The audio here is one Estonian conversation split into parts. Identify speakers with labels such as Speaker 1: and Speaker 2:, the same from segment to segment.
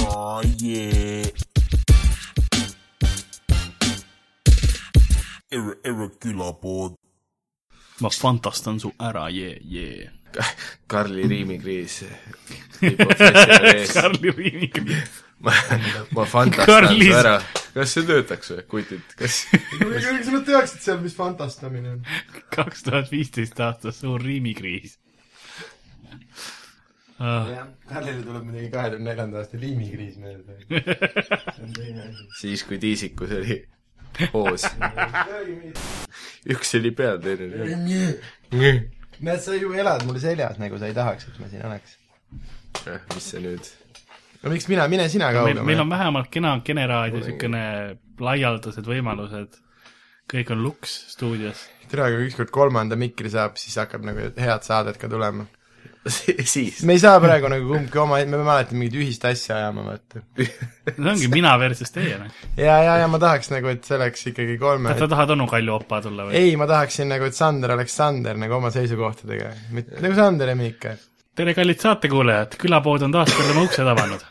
Speaker 1: Oh yeah. Erre, erre külapod.
Speaker 2: ma fantastan su ära , jee , jee .
Speaker 3: Mm.
Speaker 4: Karli riimikriis . ma ,
Speaker 2: Karli Riimik .
Speaker 4: ma fantastan
Speaker 2: Karlis.
Speaker 4: su ära . kas see töötaks või , kutid , kas
Speaker 3: kas nad teaksid seal , mis fantastamine on ?
Speaker 2: kaks tuhat viisteist aasta suur riimikriis . Ah,
Speaker 3: jah , Karlile tuleb muidugi kahe tuhande neljanda aasta liimikriis meelde . see on teine asi .
Speaker 4: siis , kui Tiisikus oli hoos ,
Speaker 3: Räägime
Speaker 4: üks oli peal , teine oli
Speaker 3: nii .
Speaker 4: all .
Speaker 3: näed , sa ju elad mul seljas , nagu sa ei tahaks , et ma siin oleks .
Speaker 4: mis see nüüd ,
Speaker 3: no miks mina , mine sina
Speaker 2: meil ,
Speaker 3: kaugemale .
Speaker 2: meil on vähemalt kena Generaal ja niisugune laialdased võimalused . kõik on luks stuudios .
Speaker 3: tere , aga kui ükskord kolmanda mikri saab , siis hakkab nagu head saadet ka tulema .
Speaker 4: siis
Speaker 3: me ei saa praegu nagu kumbki oma , me peame alati mingit ühist asja ajama , vaata .
Speaker 2: see ongi mina versus teie , noh .
Speaker 3: ja , ja , ja ma tahaks nagu , et see oleks ikkagi kolme
Speaker 2: kas , sa tahad onu Kalju opa tulla või ?
Speaker 3: ei , ma tahaksin nagu , et Sander oleks Sander nagu oma seisukohtadega , mitte nagu Sander ja Miika .
Speaker 2: tere , kallid saatekuulajad , külapood on taas kord oma uksed avanud .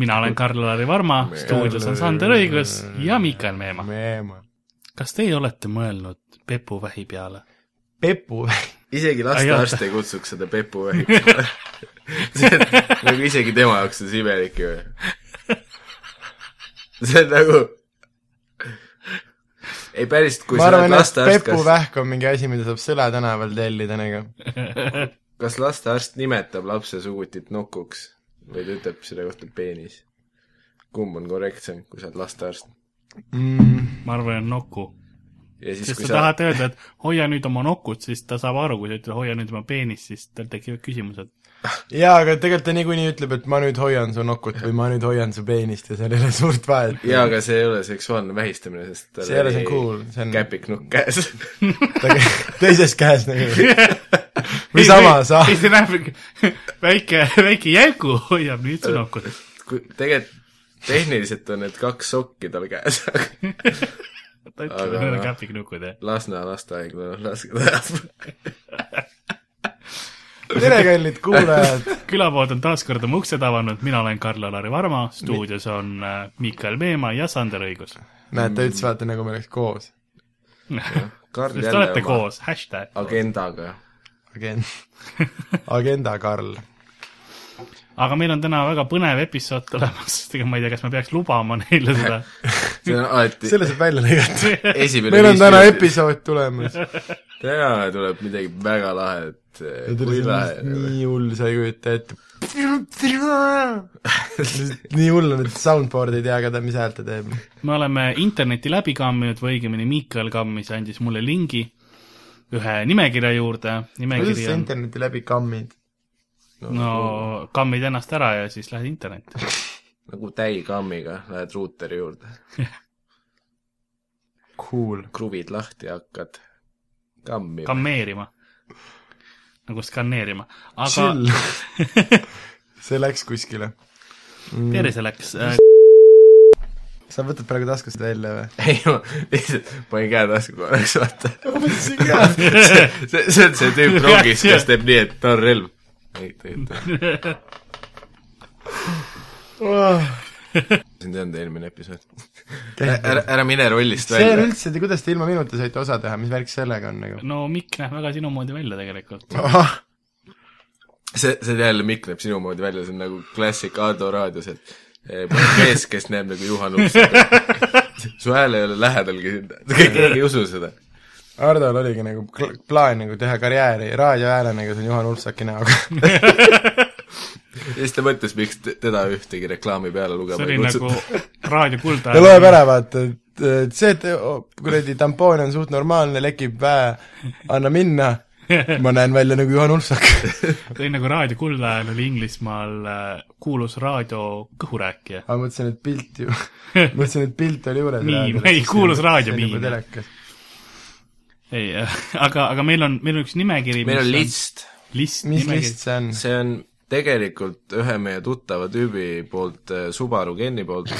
Speaker 2: mina olen Karl-Lari Varma , stuudios on Sander Õigus ja Miikael Meemaa .
Speaker 3: Meema .
Speaker 2: kas teie olete mõelnud pepuvähi peale ?
Speaker 3: Pepu ,
Speaker 4: isegi
Speaker 2: Ai, oota.
Speaker 4: lastearst ei kutsuks seda Pepu vähiks . nagu isegi tema jaoks on see imelik ju . see on nagu , ei päriselt , kui
Speaker 3: ma
Speaker 4: sa oled
Speaker 3: arvan , et
Speaker 4: lastearst ,
Speaker 3: Pepu
Speaker 4: kas ,
Speaker 3: vähk on mingi asi , mida saab Sõle tänaval tellida nagu .
Speaker 4: kas lastearst nimetab lapse sugutit nukuks või ta ütleb selle kohta peenis ? kumb on korrektsem , kui sa oled lastearst ?
Speaker 3: Mm.
Speaker 2: ma arvan , et noku .
Speaker 4: ja siis ,
Speaker 2: sest
Speaker 4: kui
Speaker 2: sa
Speaker 4: sa
Speaker 2: tahad öelda , et hoia nüüd oma nokut , siis ta saab aru , kui sa ütled hoia nüüd oma peenist , siis tal tekivad küsimused .
Speaker 3: jaa , aga tegelikult ta niikuinii ütleb , et ma nüüd hoian su nokut või ma nüüd hoian su peenist ja seal ei ole suurt vahet .
Speaker 4: jaa , aga see ei ole seksuaalne vähistamine , sest tal
Speaker 3: See ei ole, see on cool, see on-
Speaker 4: käpiknukk käes .
Speaker 3: ta kä- teises käes nagu . Või sama sa-
Speaker 2: siis ta näeb , väike , väike jägu hoiab nüüd su nokut .
Speaker 4: tegelikult tehniliselt on need kaks sokki tal käes , aga
Speaker 2: ta ütleb , et need on käpiknukud , jah .
Speaker 4: Lasna lasteaegla laske tänav .
Speaker 3: tere , kallid kuulajad ,
Speaker 2: külapood on taas kord oma uksed avanud , mina olen Karl-Alari Varma , stuudios on äh, Miikael Meemaa ja Sander Õigus .
Speaker 3: näed , ta ütles , vaata nagu me oleks koos .
Speaker 4: Karl
Speaker 2: Te
Speaker 4: jälle
Speaker 2: olete
Speaker 4: oma
Speaker 2: koos , hashtag .
Speaker 4: agendaga .
Speaker 3: Agenda , agenda Karl .
Speaker 2: aga meil on täna väga põnev episood tulemas , ega ma ei tea , kas ma peaks lubama neile seda .
Speaker 4: see on alati
Speaker 3: selle saab välja lõigata .
Speaker 4: esimene
Speaker 3: meil on
Speaker 4: viis
Speaker 3: täna
Speaker 4: minutit.
Speaker 3: episood tulemas .
Speaker 4: täna tuleb midagi väga lahedat . kui lahe .
Speaker 3: nii hull , sa ei kujuta ette . nii hull on , et soundboard ei tea ka , mis häält ta teeb .
Speaker 2: me oleme interneti läbi kamminud või õigemini Miikael kammis , andis mulle lingi ühe nimekirja juurde .
Speaker 3: kuidas
Speaker 2: nimekiri
Speaker 3: sa
Speaker 2: on ,
Speaker 3: interneti läbi kammid ?
Speaker 2: no kammid ennast ära ja siis lähed internetti .
Speaker 4: nagu täikammiga lähed ruuteri juurde ,
Speaker 3: Cool .
Speaker 4: kruvid lahti ja hakkad kammima Kam .
Speaker 2: kammeerima . nagu skaneerima . aga
Speaker 3: chill . see läks kuskile .
Speaker 2: tervise läks . Äh,
Speaker 3: sa võtad praegu taskust välja või ?
Speaker 4: ei , ma lihtsalt panin käe tasku korraks , vaata .
Speaker 3: ma mõtlesin ka .
Speaker 4: see , see on see tüüp rongis , kes teeb nii , et ta on relv . ei , tegelikult ei .
Speaker 3: Ah.
Speaker 4: see on teadnud eelmine episood . ära , ära mine rollist
Speaker 3: see on
Speaker 4: välja .
Speaker 3: üldse , kuidas te ilma minuta saite osa teha , mis värk sellega on nagu ?
Speaker 2: no Mikk näeb väga sinu moodi välja tegelikult .
Speaker 3: Ah,
Speaker 4: see , see jälle Mikk näeb sinu moodi välja , see on nagu klassik Ado raadios , et eh, mees , kes näeb nagu Juhan Uus . su hääl ei ole lähedalgi sinna , keegi ei usu seda .
Speaker 3: Hardol oligi nagu kl- plaan nagu teha karjääri raadiohäälenega , see on Juhan Ulfsaki näoga .
Speaker 4: ja siis ta mõtles , miks te- teda ühtegi reklaami peale
Speaker 2: see
Speaker 4: lugema
Speaker 2: oli
Speaker 4: ei
Speaker 2: nagu
Speaker 4: kutsuta .
Speaker 2: raadio
Speaker 3: ta loeb
Speaker 2: kuldaeg .
Speaker 3: ära , vaata , et et see , et oh, kuradi tampoon on suht normaalne , lekib väe , anna minna , ma näen välja nagu Juhan Ulfsak .
Speaker 2: see oli nagu raadio kuldajal oli Inglismaal äh, kuulus raadio kõhurääkija .
Speaker 3: aga mõtlesin , et pilt ju , mõtlesin , et pilt oli juures .
Speaker 2: Miim, ei, kuulus raadiomiim.
Speaker 3: nagu telekas .
Speaker 2: ei , aga , aga meil on , meil on üks nimekiri .
Speaker 4: meil on list
Speaker 2: list .
Speaker 3: mis list see on ?
Speaker 4: see on tegelikult ühe meie tuttava tüübi poolt , Subaru Kenny poolt .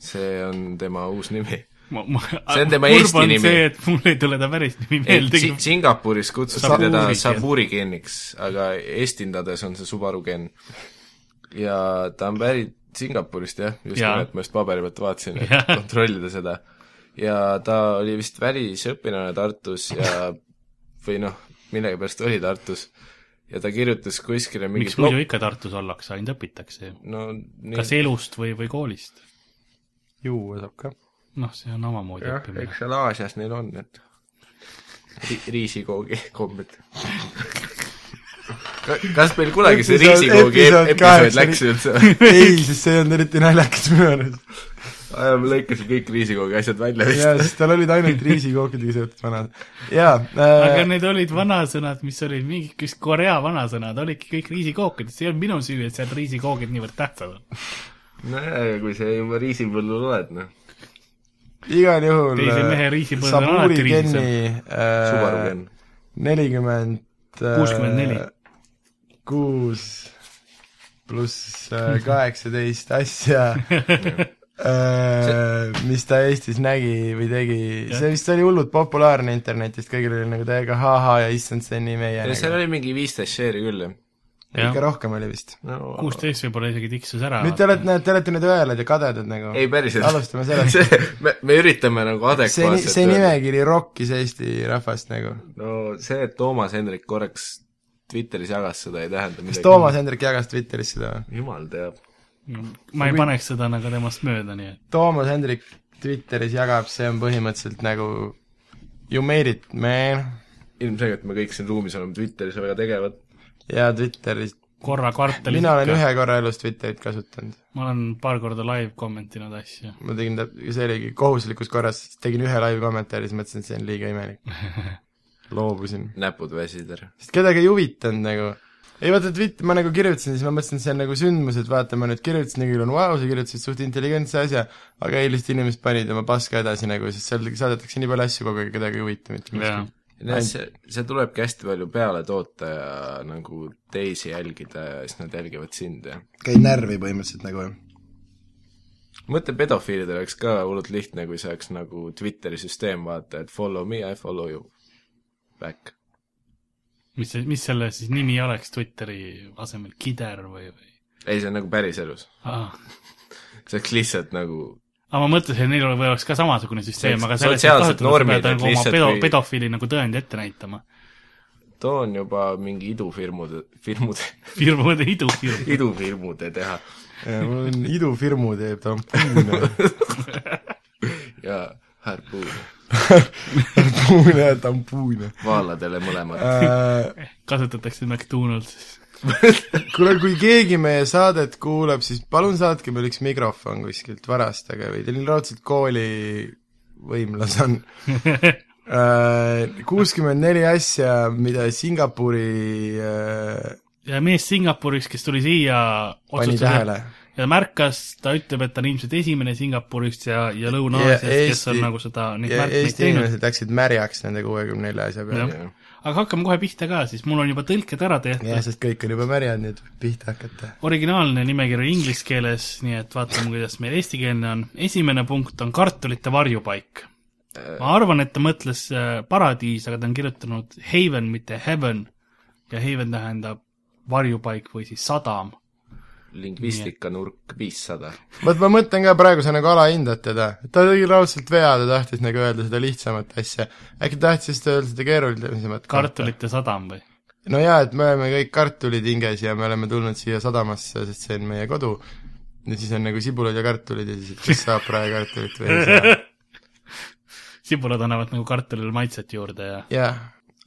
Speaker 4: see on tema uus nimi .
Speaker 2: ma , ma ,
Speaker 4: See on tema
Speaker 2: kurb
Speaker 4: Eesti
Speaker 2: on
Speaker 4: nimi.
Speaker 2: see , et mul ei tule ta päris nimi meelde .
Speaker 4: Singapuris kutsuti
Speaker 2: Saburi
Speaker 4: teda
Speaker 2: Ken.
Speaker 4: Saburi Kenniks , aga eestindades on see Subaru Ken . ja ta on pärit Singapurist jah , just
Speaker 2: Jaa.
Speaker 4: nimelt ma just paberi pealt vaatasin ,
Speaker 2: Jah.
Speaker 4: et kontrollida seda . ja ta oli vist välisõpilane Tartus ja või noh , millegipärast oli Tartus ja ta kirjutas kuskile mingi
Speaker 2: miks muidu ikka Tartus ollakse , ainult õpitakse ju .
Speaker 4: no
Speaker 2: kas
Speaker 4: nii ,
Speaker 2: elust või , või koolist ?
Speaker 3: juua saab ka .
Speaker 2: noh , see on omamoodi
Speaker 4: jah ,
Speaker 2: õppimine .
Speaker 4: eks seal Aasias neil on need ri- riisikoogi kombed . kas meil kunagi see
Speaker 3: Episood-
Speaker 4: riisikoogi
Speaker 3: episood
Speaker 4: ep- episood
Speaker 3: kaheksa-
Speaker 4: läks üldse ?
Speaker 3: ei , sest see ei olnud eriti naljakas minu arust .
Speaker 4: me lõikasime kõik riisikoogi asjad välja
Speaker 3: jaa ,
Speaker 4: vist .
Speaker 3: sest tal olid ainult riisikookidega seotud vanad . jaa
Speaker 2: aga
Speaker 3: äh, ,
Speaker 2: need olid vanasõnad , mis olid mingid Korea vanasõnad , olidki kõik riisikookides , see ei olnud minu süü , et seal riisikoogid niivõrd tähtsad on .
Speaker 4: nojah , aga kui sa juba riisipõllul oled , noh .
Speaker 3: igal juhul
Speaker 2: teise mehe riisipõld on
Speaker 3: Saburi
Speaker 2: alati riisisem.
Speaker 3: Geni, äh,
Speaker 4: Subaru Ken .
Speaker 3: nelikümmend äh,
Speaker 2: 64.
Speaker 3: kuus pluss äh, kaheksateist asja , mis ta Eestis nägi või tegi ,
Speaker 2: Jah.
Speaker 3: see vist oli hullult populaarne internetist , kõigil oli nagu täiega ha-ha ja issand , see on nii meie
Speaker 4: seal
Speaker 3: nagu. .
Speaker 4: oli mingi viisteist share'i küll , jah
Speaker 3: ikka rohkem oli vist .
Speaker 4: no, .
Speaker 2: kuusteist võib-olla isegi tiksus ära .
Speaker 3: nüüd te olete , näed , te olete nüüd õelad ja kadedad nagu .
Speaker 4: ei , päriselt .
Speaker 3: alustame sellest.
Speaker 4: me , me üritame nagu
Speaker 3: see ,
Speaker 4: adekvaatselt
Speaker 3: see . nimekiri rokkis Eesti rahvast nagu .
Speaker 4: no see , et Toomas Hendrik korraks Twitteris jagas seda , ei tähenda
Speaker 3: kas
Speaker 4: midagi .
Speaker 3: Toomas Hendrik jagas Twitteris seda või ?
Speaker 4: jumal teab .
Speaker 2: Mm, ma ei paneks seda nagu temast mööda , nii et
Speaker 3: Toomas Hendrik Twitteris jagab , see on põhimõtteliselt nagu you made it , man .
Speaker 4: ilmselgelt me kõik siin ruumis oleme Twitteris väga tegevad .
Speaker 3: ja Twitteris ,
Speaker 2: korra kvartalis
Speaker 3: mina olen
Speaker 2: ikka .
Speaker 3: ühe korra elus Twitterit kasutanud .
Speaker 2: ma olen paar korda live kommentinud asju .
Speaker 3: ma tegin täp- , see oligi kohuslikus korras , tegin ühe live kommentaari , siis mõtlesin , et see on liiga imelik . loobusin .
Speaker 4: näpud väsid ära .
Speaker 3: sest kedagi ei huvitanud nagu . ei vaata , Twitter , ma nagu kirjutasin , siis ma mõtlesin , et see on nagu sündmus , et vaata , ma nüüd kirjutasin ja küll on vau wow, , sa kirjutasid suht intelligentse asja , aga ei , lihtsalt inimesed panid oma paska edasi nagu , sest seal saadetakse nii palju asju kogu aeg , kedagi ei huvita mitte
Speaker 2: jaa
Speaker 3: miski .,
Speaker 4: see , see tulebki hästi palju peale toota ja nagu teisi jälgida ja siis nad jälgivad sind ja
Speaker 3: käid närvi põhimõtteliselt nagu jah
Speaker 4: mõtle , pedofiilidel oleks ka hullult lihtne , kui see oleks nagu Twitteri süsteem , vaata , et follow me , I follow you back .
Speaker 2: mis see , mis selle siis nimi oleks Twitteri asemel , Kider või , või ?
Speaker 4: ei , see on nagu päriselus .
Speaker 2: aa ,
Speaker 4: see oleks lihtsalt nagu
Speaker 2: Ah, ma mõtlesin , et neil ole- või oleks ka samasugune süsteem ,
Speaker 4: See-
Speaker 2: aga selles
Speaker 4: sotsiaalsed normid, et
Speaker 2: nagu oma
Speaker 4: lihtsalt
Speaker 2: pedo-
Speaker 4: kui- ,
Speaker 2: pedofiili nagu tõendi ette näitama .
Speaker 4: too on juba mingi idufirmude , firmude ,
Speaker 2: firmade idufirm .
Speaker 4: idufirmude teha
Speaker 3: Ja mul on idufirmu teeb tampoone ,
Speaker 4: ja härpuun ,
Speaker 3: tampoone ja tampoone .
Speaker 4: vaaladele mõlemad .
Speaker 3: Äh,
Speaker 2: kasutatakse McDonaldsis .
Speaker 3: kuule , kui keegi meie saadet kuulab , siis palun saatke meile üks mikrofon kuskilt , varastage või teil raudselt kooli võimlas on . kuuskümmend neli asja , mida Singapuri äh,
Speaker 2: ja mees Singapuris , kes tuli siia ,
Speaker 3: pani
Speaker 2: otsustas ,
Speaker 3: tähele .
Speaker 2: ja märkas , ta ütleb , et ta on ilmselt esimene Singapurist ja , ja Lõuna-Aasiast , kes on nagu seda neid
Speaker 3: ja
Speaker 2: märkmeid
Speaker 3: Eesti
Speaker 2: teinud .
Speaker 3: inimesed läksid märjaks nende kuuekümne nelja asja peale .
Speaker 2: Jah. aga hakkame kohe pihta ka siis , mul on juba tõlked ära tehtud
Speaker 3: jah , sest kõik on juba märjad , nii et võib pihta hakata .
Speaker 2: originaalne nimekiri oli inglise keeles , nii et vaatame , kuidas meil eestikeelne on . esimene punkt on kartulite varjupaik . ma arvan , et ta mõtles äh, paradiis , aga ta on kirjutanud haven , mitte heaven . ja haven tähendab varjupaik või siis sadam .
Speaker 4: lingvistika nurk viissada .
Speaker 3: vot ma mõtlen ka praegu , sa nagu alahindad teda , ta tegi raudselt vea , ta tahtis nagu öelda seda lihtsamat asja . äkki ta tahtis ta öelda seda keerulisemat kohta.
Speaker 2: kartulite sadam või ?
Speaker 3: no jaa , et me oleme kõik kartulid hinges ja me oleme tulnud siia sadamasse , sest see on meie kodu . ja siis on nagu sibulad ja kartulid ja siis , et kas saab praegu kartulit või ei saa .
Speaker 2: sibulad annavad nagu kartulile maitset juurde ja
Speaker 3: jah ,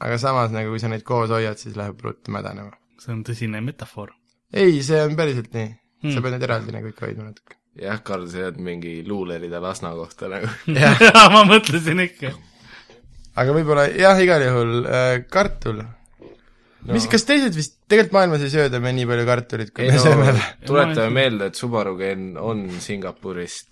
Speaker 3: aga samas nagu kui sa neid koos hoiad , siis läheb rutt mädanema .
Speaker 2: see on tõsine metafoor .
Speaker 3: ei , see on päriselt nii . sa
Speaker 2: Hmm.
Speaker 3: pead neid eraldi nagu ikka hoidma natuke .
Speaker 4: jah , Karl , sa tead mingi luulerida Lasna kohta nagu .
Speaker 2: ma mõtlesin ikka .
Speaker 3: aga võib-olla jah , igal juhul äh, kartul no. . mis , kas teised vist , tegelikult maailmas ei sööda me nii palju kartulit , kui
Speaker 4: ei
Speaker 3: me sööme
Speaker 4: no
Speaker 3: või ?,
Speaker 4: tuletame meelde , et Subaru Ken on Singapurist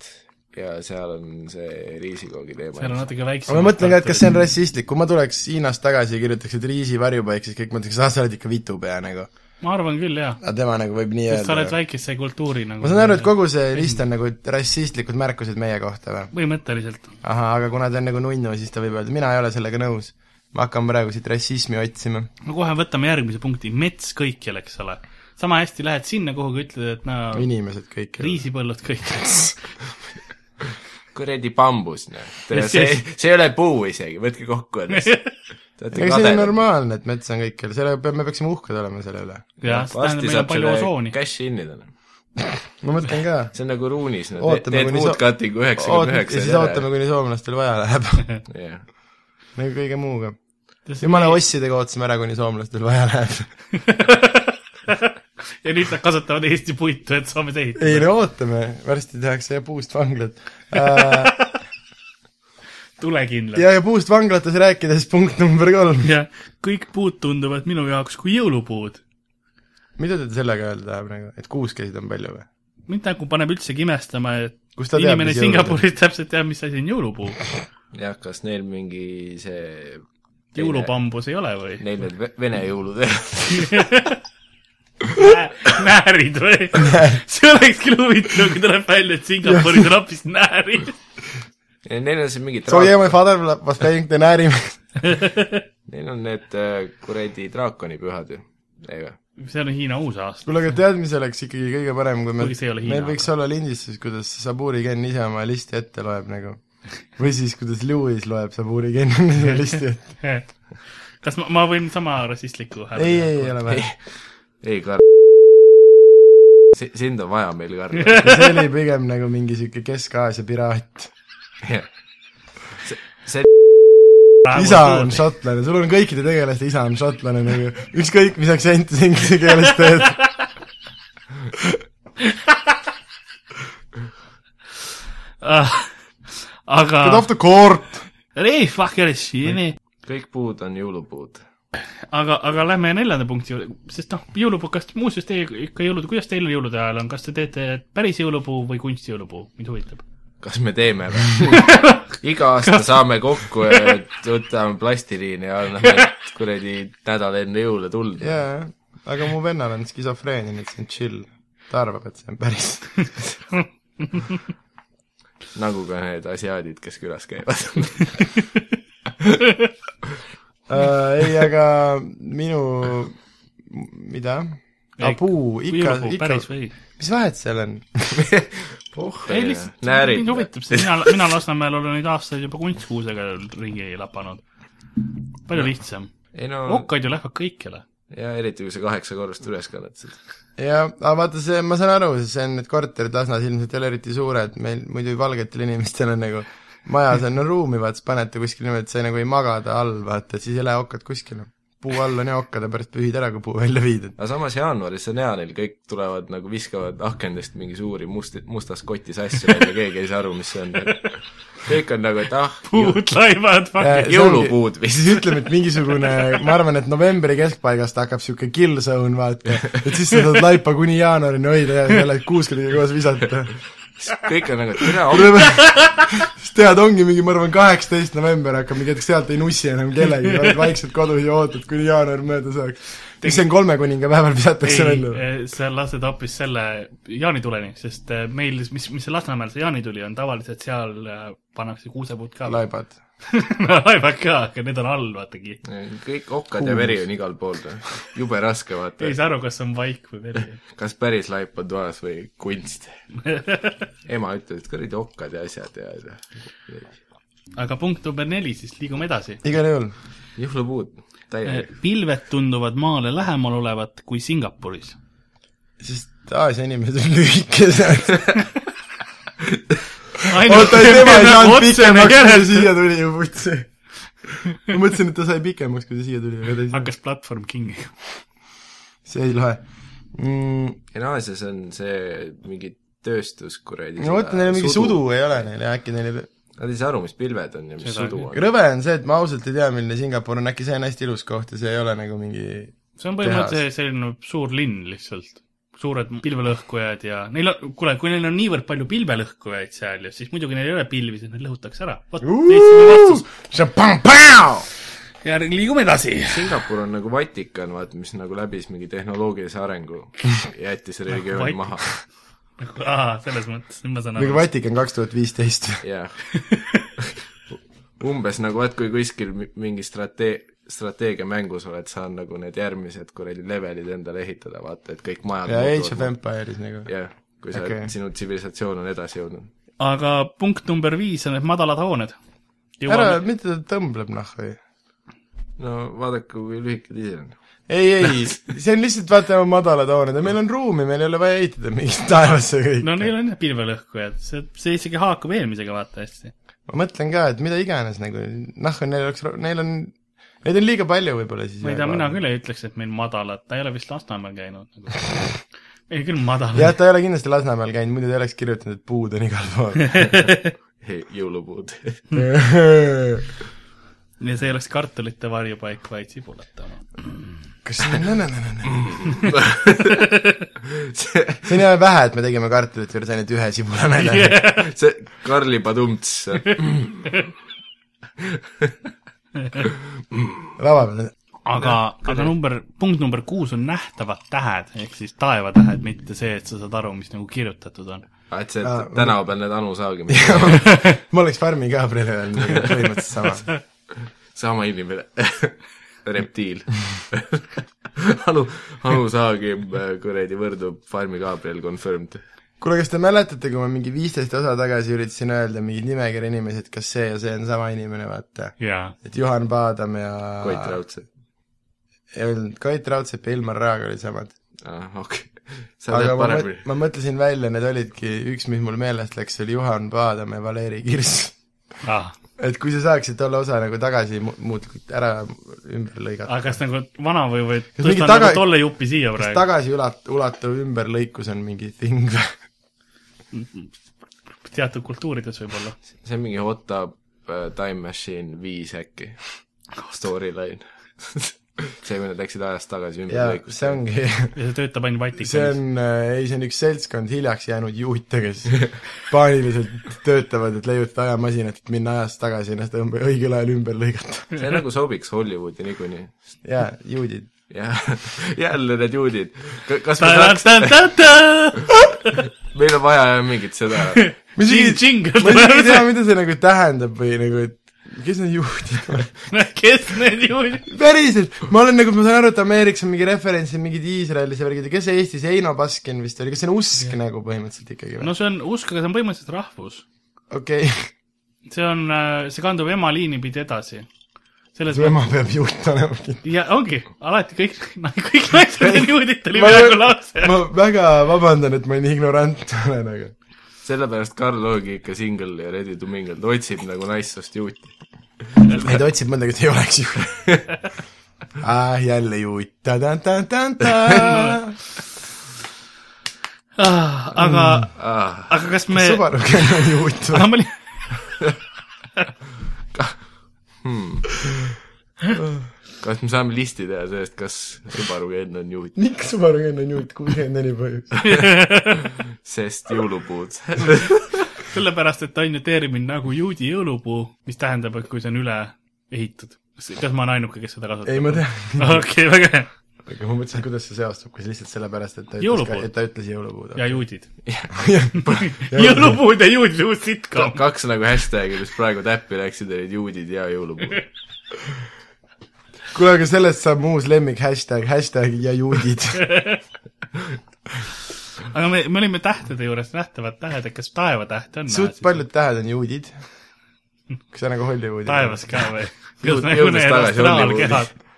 Speaker 4: ja seal on see riisikoogi teema
Speaker 2: seal on . natuke väiksem .
Speaker 3: aga ma mõtlen ka , et kas see on rassistlik , kui ma tuleks Hiinast tagasi ja kirjutaks , et riisivarjupaik , siis kõik mõtleks , ah , sa oled ikka vitupea nagu .
Speaker 2: ma arvan küll , jaa .
Speaker 3: aga tema nagu võib nii
Speaker 2: sa oled
Speaker 3: öelda .
Speaker 2: väikese kultuuri nagu
Speaker 3: ma saan aru , et kogu see list on nagu rassistlikud märkused meie kohta või ?
Speaker 2: põhimõtteliselt
Speaker 3: ahah , aga kuna ta on nagu nunnu , siis ta võib öelda , mina ei ole sellega nõus . ma hakkan praegu siit rassismi otsima .
Speaker 2: no kohe võtame järgmise punkti , mets kõikjal , eks ole . sama hästi lähed sinna kuhugi , ütled , et no
Speaker 3: inimesed kõik .
Speaker 2: riisipõllud kõik
Speaker 4: kuradi bambus , noh .
Speaker 2: Yes,
Speaker 4: see
Speaker 2: yes. ,
Speaker 4: see ei ole puu isegi , võtke kokku ennast .
Speaker 3: ega see on . normaalne , et mets on kõik , selle peab , me peaksime uhked olema selle üle .
Speaker 2: jah , see tähendab , meil on palju osooni .
Speaker 4: cash in'i täna .
Speaker 3: ma mõtlen ka .
Speaker 4: see on nagu ruunis , no teed,
Speaker 3: Ootame,
Speaker 4: teed
Speaker 3: kuni
Speaker 4: wood
Speaker 3: sa-
Speaker 4: cutting'u üheksakümne
Speaker 3: ja
Speaker 4: üheksa .
Speaker 3: siis ootame , kuni soomlastel vaja läheb ,
Speaker 4: kuni .
Speaker 3: nagu kõige muuga . jumala . ossidega ootasime ära , kuni soomlastel vaja läheb .
Speaker 2: ja nüüd nad kasutavad Eesti puitu , et saame teid .
Speaker 3: ei no ootame , varsti tehakse ja puust vanglat äh, .
Speaker 2: tulekindlad .
Speaker 3: ja , ja puust vanglates rääkides punkt number kolm .
Speaker 2: ja kõik puud tunduvad minu jaoks kui jõulupuud .
Speaker 3: mida ta sellega öelda tahab nagu , et kuuskesid on palju või ?
Speaker 2: mind nagu paneb üldsegi imestama ,
Speaker 3: Kust
Speaker 2: et
Speaker 3: ta teab,
Speaker 2: inimene
Speaker 3: mis jõulud on?
Speaker 2: Singapuris täpselt teab , mis asi on jõulupuu .
Speaker 4: jah , kas neil mingi see
Speaker 2: jõulupambus ei ole või ?
Speaker 4: Neil need ve- vene jõulud ei ole .
Speaker 2: näärid või ? see oleks küll huvitav , kui tuleb välja , et Singapuris on hoopis näärid .
Speaker 4: Neil on siin mingid
Speaker 3: So yeah ,
Speaker 4: draak- ,
Speaker 3: my father was playing the nääri .
Speaker 4: neil on need äh, kuradi draakonipühad ju , ei vä ?
Speaker 2: see on Hiina uusaasta .
Speaker 3: kuule , aga tead , mis oleks ikkagi kõige parem , kui me ,
Speaker 2: Kuigi see ei ole Hiina,
Speaker 3: meil võiks olla lindistus , kuidas Saburi Ken ise oma listi ette loeb nagu . või siis , kuidas Lewis loeb Saburi Ken ise listi ette .
Speaker 2: kas ma , ma võin sama rassistliku hääle
Speaker 3: ei , ei , ei ole vaja .
Speaker 4: ei , Karl . sind on vaja meil , Karl .
Speaker 3: see oli pigem nagu mingi sihuke Kesk-Aasia piraat .
Speaker 4: see , see ,
Speaker 2: praegu
Speaker 3: isa
Speaker 2: tuua?
Speaker 3: on šotlane , sul on kõikide tegelaste isa on šotlane nagu , ükskõik mis aktsenti sa inglise keeles teed .
Speaker 2: Ah, aga
Speaker 3: Get off the court .
Speaker 2: ei , fucker shit'i ,
Speaker 4: kõik puud on jõulupuud .
Speaker 2: aga , aga lähme neljanda punkti juurde , sest noh , jõulupuu , kas muuseas teie ikka jõulud , kuidas teil jõulude ajal on , kas te teete päris jõulupuu või kunstijõulupuu , mind huvitab .
Speaker 4: kas me teeme või ? iga aasta saame kokku ja võtame plastiliini ja anname kuradi nädal enne jõule tuld .
Speaker 3: jaa , aga mu vennal on skisofreenia , nii et see on chill . ta arvab , et see on päris .
Speaker 4: nagu ka need asiaadid , kes külas käivad .
Speaker 3: äh, . ei , aga minu , mida ?
Speaker 2: Ei,
Speaker 3: puu , ikka ,
Speaker 2: jõulupuu ,
Speaker 3: ikka
Speaker 2: päris , või ?
Speaker 3: mis vahet seal on ?
Speaker 4: oh ,
Speaker 2: ei lihtsalt ,
Speaker 4: näärid
Speaker 2: mind . huvitab see , mina , mina Lasnamäel olen nüüd aastaid juba kunstkuusega ringi lapanud . palju lihtsam ,
Speaker 4: ei no okay. ,
Speaker 2: okkad ju lähevad kõikjale .
Speaker 4: ja eriti kui sa kaheksa korrust üles kannatasid .
Speaker 3: ja , aga vaata see , ma saan aru , see on , need korterid Lasnas ilmselt ei ole eriti suured , meil muidu valgetel inimestel on nagu majas on no, ruumi , vaata , siis panete kuskile niimoodi , et sa ei, nagu ei magada all , vaata , siis ei lähe okkad kuskile . puu all on ja okkad ja pärast pühid ära , kui puu välja viid , et
Speaker 4: aga samas jaanuaris on hea , neil kõik tulevad nagu viskavad akendest mingi suuri musti , mustas kotis asju välja , keegi ei saa aru , mis see on . kõik on nagu , et ah ,
Speaker 2: puud laivad , fucker .
Speaker 3: Äh, see ongi-
Speaker 4: jõulupuud vist .
Speaker 3: siis ütleme , et mingisugune , ma arvan , et novembri keskpaigast hakkab niisugune kill zone , vaata . et siis sa saad laipa kuni jaanuarini hoida ja jälle kuuskedega koos visata .
Speaker 4: kõik on nagu , et tere ,
Speaker 3: siis tead , ongi mingi , ma arvan , kaheksateist november hakkab mingi hetk , sealt ei nussi enam kellegi , oled vaikselt kodus ja ootad , kuni jaanuar mööda saaks . siis see on kolme kuninga päeval visatakse välja .
Speaker 2: ei , sa lased hoopis selle jaanituleni , sest äh, meil , mis , mis see Lasnamäel see jaanituli on , tavaliselt seal äh, pannakse kuusepuud ka .
Speaker 3: laibad .
Speaker 2: laevad ka , aga need on all , vaatagi .
Speaker 4: kõik okkad ja veri on igal pool , jube raske vaata
Speaker 2: ei , saa aru , kas on vaik või veri .
Speaker 4: kas päris laip on toas või kunst . ema ütles , et kuradi okkad ja asjad ja ja-
Speaker 2: aga punkt number neli , siis liigume edasi .
Speaker 3: igal juhul .
Speaker 4: jõulupuud ,
Speaker 3: Eh.
Speaker 4: täielik .
Speaker 2: pilved tunduvad maale lähemal olevat kui Singapuris .
Speaker 3: sest Aasia inimesed on lühikesed . oota , tema ei saanud pikemaks , kui ta
Speaker 2: hakkas
Speaker 3: siia tuli ju putsi . ma mõtlesin , et ta sai pikemaks , kui ta siia tuli , aga ta ei saanud .
Speaker 2: platvorm kinni .
Speaker 3: see ei loe mm, .
Speaker 4: ei no Aasias on see mingi tööstus kuradi .
Speaker 3: no vot , neil on mingi sudu . ei ole neil ja äkki neil ei
Speaker 4: Nad ei saa aru , mis pilved on ja mis
Speaker 2: Seda
Speaker 4: sudu
Speaker 2: küll.
Speaker 4: on .
Speaker 3: rõve on see , et ma ausalt ei tea , milline Singapur on , äkki see on hästi ilus koht ja see ei ole nagu mingi
Speaker 2: see on põhimõtteliselt selline suur linn lihtsalt . suured pilvelõhkujad ja neil on , kuule , kui neil on niivõrd palju pilvelõhkujaid seal ju , siis muidugi neil ei ole pilvi , siis need lõhutakse ära . vot , teistsugune vastus . ja liigume edasi .
Speaker 4: Singapur on nagu Vatikan , vaata , mis nagu läbis mingi tehnoloogilise arengu , jättis religiooni
Speaker 2: Vatikan.
Speaker 4: maha .
Speaker 2: aa , selles mõttes , nüüd ma saan
Speaker 3: nagu
Speaker 2: aru . Nagu
Speaker 3: Vatikan kaks tuhat viisteist .
Speaker 4: jah . umbes nagu vaat kui kuskil mi- mingi strate- , strateegiamängus oled saanud nagu need järgmised kuradi levelid endale ehitada , vaata , et kõik majad
Speaker 3: ja Age of Empire'is nagu .
Speaker 4: jah , kui sa
Speaker 3: Okei.
Speaker 4: okay. , sinu tsivilisatsioon on edasi jõudnud .
Speaker 2: aga punkt number viis on need madalad hooned .
Speaker 3: ära , mitte ta tõmbleb nahku ju .
Speaker 4: no vaadake , kui lühike diisel on .
Speaker 3: ei , ei , see on lihtsalt vaata oma madalad hooned ja meil on ruumi , meil ei ole vaja ehitada mingit taevasse kõik
Speaker 2: no neil on jah pilvelõhkujad , see , see isegi haakub eelmisega vaata hästi .
Speaker 3: ma mõtlen ka , et mida iganes nagu , noh , neil oleks , neil on , neid on liiga palju võib-olla siis .
Speaker 2: ma ei tea , mina . küll ei ütleks , et meil madalad , ta ei ole vist Lasnamäel käinud nagu. . meil küll madalad
Speaker 3: jah , ta ei ole kindlasti Lasnamäel käinud , muidu ta ei oleks kirjutanud , et puud on igal
Speaker 4: jõulupuud .
Speaker 3: pool .
Speaker 2: ja see ei oleks kartulite varjupaik , vaid sibulate oma .
Speaker 3: kas see on nänänänänä ? see on jaa vähe , et me tegime kartulite juures ainult ühe sibulanalja yeah. .
Speaker 4: see Karli Padumts ,
Speaker 3: lava peal .
Speaker 2: aga , aga number , punkt number kuus on nähtavad tähed ehk siis taevatähed , mitte see , et sa saad aru , mis nagu kirjutatud on .
Speaker 4: et see
Speaker 3: Aa,
Speaker 4: tänava peal need Anu Saagimid ,
Speaker 3: ma oleks farmi ka preile öelnud , aga põhimõtteliselt sama .
Speaker 4: sama inimene , reptiil . Anu , Anu Saagim äh, kuradi võrdub Farmi Gabriel confirmed .
Speaker 3: kuule , kas te mäletate , kui ma mingi viisteist osa tagasi üritasin öelda mingit nimekirja inimesi , et kas see ja see on sama inimene , vaata .
Speaker 2: jaa .
Speaker 3: et Juhan Paadam ja
Speaker 4: Koit Raudsepp .
Speaker 3: ei olnud , Koit Raudsepp ja Ilmar Raag olid samad .
Speaker 4: ah, . okei okay. , sa
Speaker 3: aga
Speaker 4: tead
Speaker 3: ma,
Speaker 4: paremini
Speaker 3: mõt- . ma mõtlesin välja , need olidki , üks , mis mul meelest läks , oli Juhan Paadam ja Valeri Kirss
Speaker 2: Ah,
Speaker 3: et kui sa saaksid tolle osa nagu tagasi mu- muuta , ära ümber lõigata .
Speaker 2: aga kas nagu vana või , või
Speaker 3: Kas
Speaker 2: tõstan
Speaker 3: mingi taga-
Speaker 2: taga... nagu tolle jupi siia
Speaker 3: kas
Speaker 2: praegu ?
Speaker 3: tagasiulat- , ulatuv ümberlõikus on mingi thing või ?
Speaker 2: teatud kultuurides võib-olla .
Speaker 4: see on mingi hot tub äh, time machine viis äkki , storyline . see , kui nad läksid ajas tagasi
Speaker 3: jaa
Speaker 4: ümber , lõikusse .
Speaker 3: see ongi ,
Speaker 2: ja see töötab ainult
Speaker 3: see
Speaker 2: Vatikanis .
Speaker 3: on , ei see on üks seltskond hiljaks jäänud juute , kes paaniliselt töötavad , et leiutada ajamasinat , et minna ajas tagasi ennast õmb- õigel ajal ümber lõigata .
Speaker 4: see nagu sobiks Hollywoodi niikuinii .
Speaker 3: jaa , juudid .
Speaker 4: jah , jälle need juudid . kas me saaks ,
Speaker 2: ta-ta-ta-ta-ta !
Speaker 4: meil on vaja jah mingit seda .
Speaker 3: ma isegi ma isegi ei
Speaker 2: Jingle ,
Speaker 3: tea , mida see nagu tähendab või nagu , et kes need juudid on ?
Speaker 2: kes need juhid ?
Speaker 3: päriselt , ma olen nagu , ma saan aru , et Ameerikas on mingi referents ja mingid Iisraelis ja värgid ja kes see Eestis , Heino Baskin vist oli , kas see on usk nagu põhimõtteliselt ikkagi või
Speaker 2: no ? see on usk , aga see on põhimõtteliselt rahvus .
Speaker 3: okei ,
Speaker 2: see on , see kandub ema liini pidi edasi . selles
Speaker 3: su ema peab juut olema kindlasti .
Speaker 2: ja ongi , alati kõik , kõik naised on juudid , oli
Speaker 3: Ma-
Speaker 2: peaaegu lause .
Speaker 3: ma väga vabandan , et ma nii ignorant olen , aga
Speaker 4: sellepärast Karl ongi ikka singel ja ready to mingle , ta otsib nagu naissoost juuti .
Speaker 3: ei ta otsib mõndagi , et ei oleks juut . ah , jälle juut , ta-ta-ta-ta-ta .
Speaker 2: aga ,
Speaker 3: Mm.
Speaker 4: Ah,
Speaker 2: aga kas me ,
Speaker 3: Subaru kell on juut või ?
Speaker 2: aga ma olin ,
Speaker 4: kas me saame listi teha sellest , kas Subaru Ken on juut ,
Speaker 3: miks Subaru kell on juut , kuuskümmend neli põhjust ?
Speaker 4: sest jõulupuud .
Speaker 2: sellepärast , et ta on ju termin nagu juudi jõulupuu , mis tähendab , et kui see on üle ehitud . kas ma olen ainuke , kes seda kasutab ?
Speaker 3: ei , ma tean .
Speaker 2: okei , väga hea .
Speaker 3: aga ma mõtlesin , kuidas see seostub , kas lihtsalt sellepärast , et ta
Speaker 2: Jõulupuud.
Speaker 3: ütles , et ta ütles jõulupuud .
Speaker 2: ja juudid . jõulupuud ja juudid , uus sitcom .
Speaker 4: kaks nagu hashtag'i , mis praegu täppi läksid , olid juudid ja jõulupuud .
Speaker 3: kuule , aga sellest saab mu uus lemmik hashtag , hashtag ja juudid .
Speaker 2: aga me , me olime tähtede juures , nähtavad tähed , et kas taevatäht on ?
Speaker 3: suht paljud tähed on juudid . kas see on nagu Hollywoodi ?
Speaker 2: taevas ka või ?
Speaker 4: Jõud-
Speaker 2: nagu
Speaker 4: jõudes tagasi Hollywoodi. .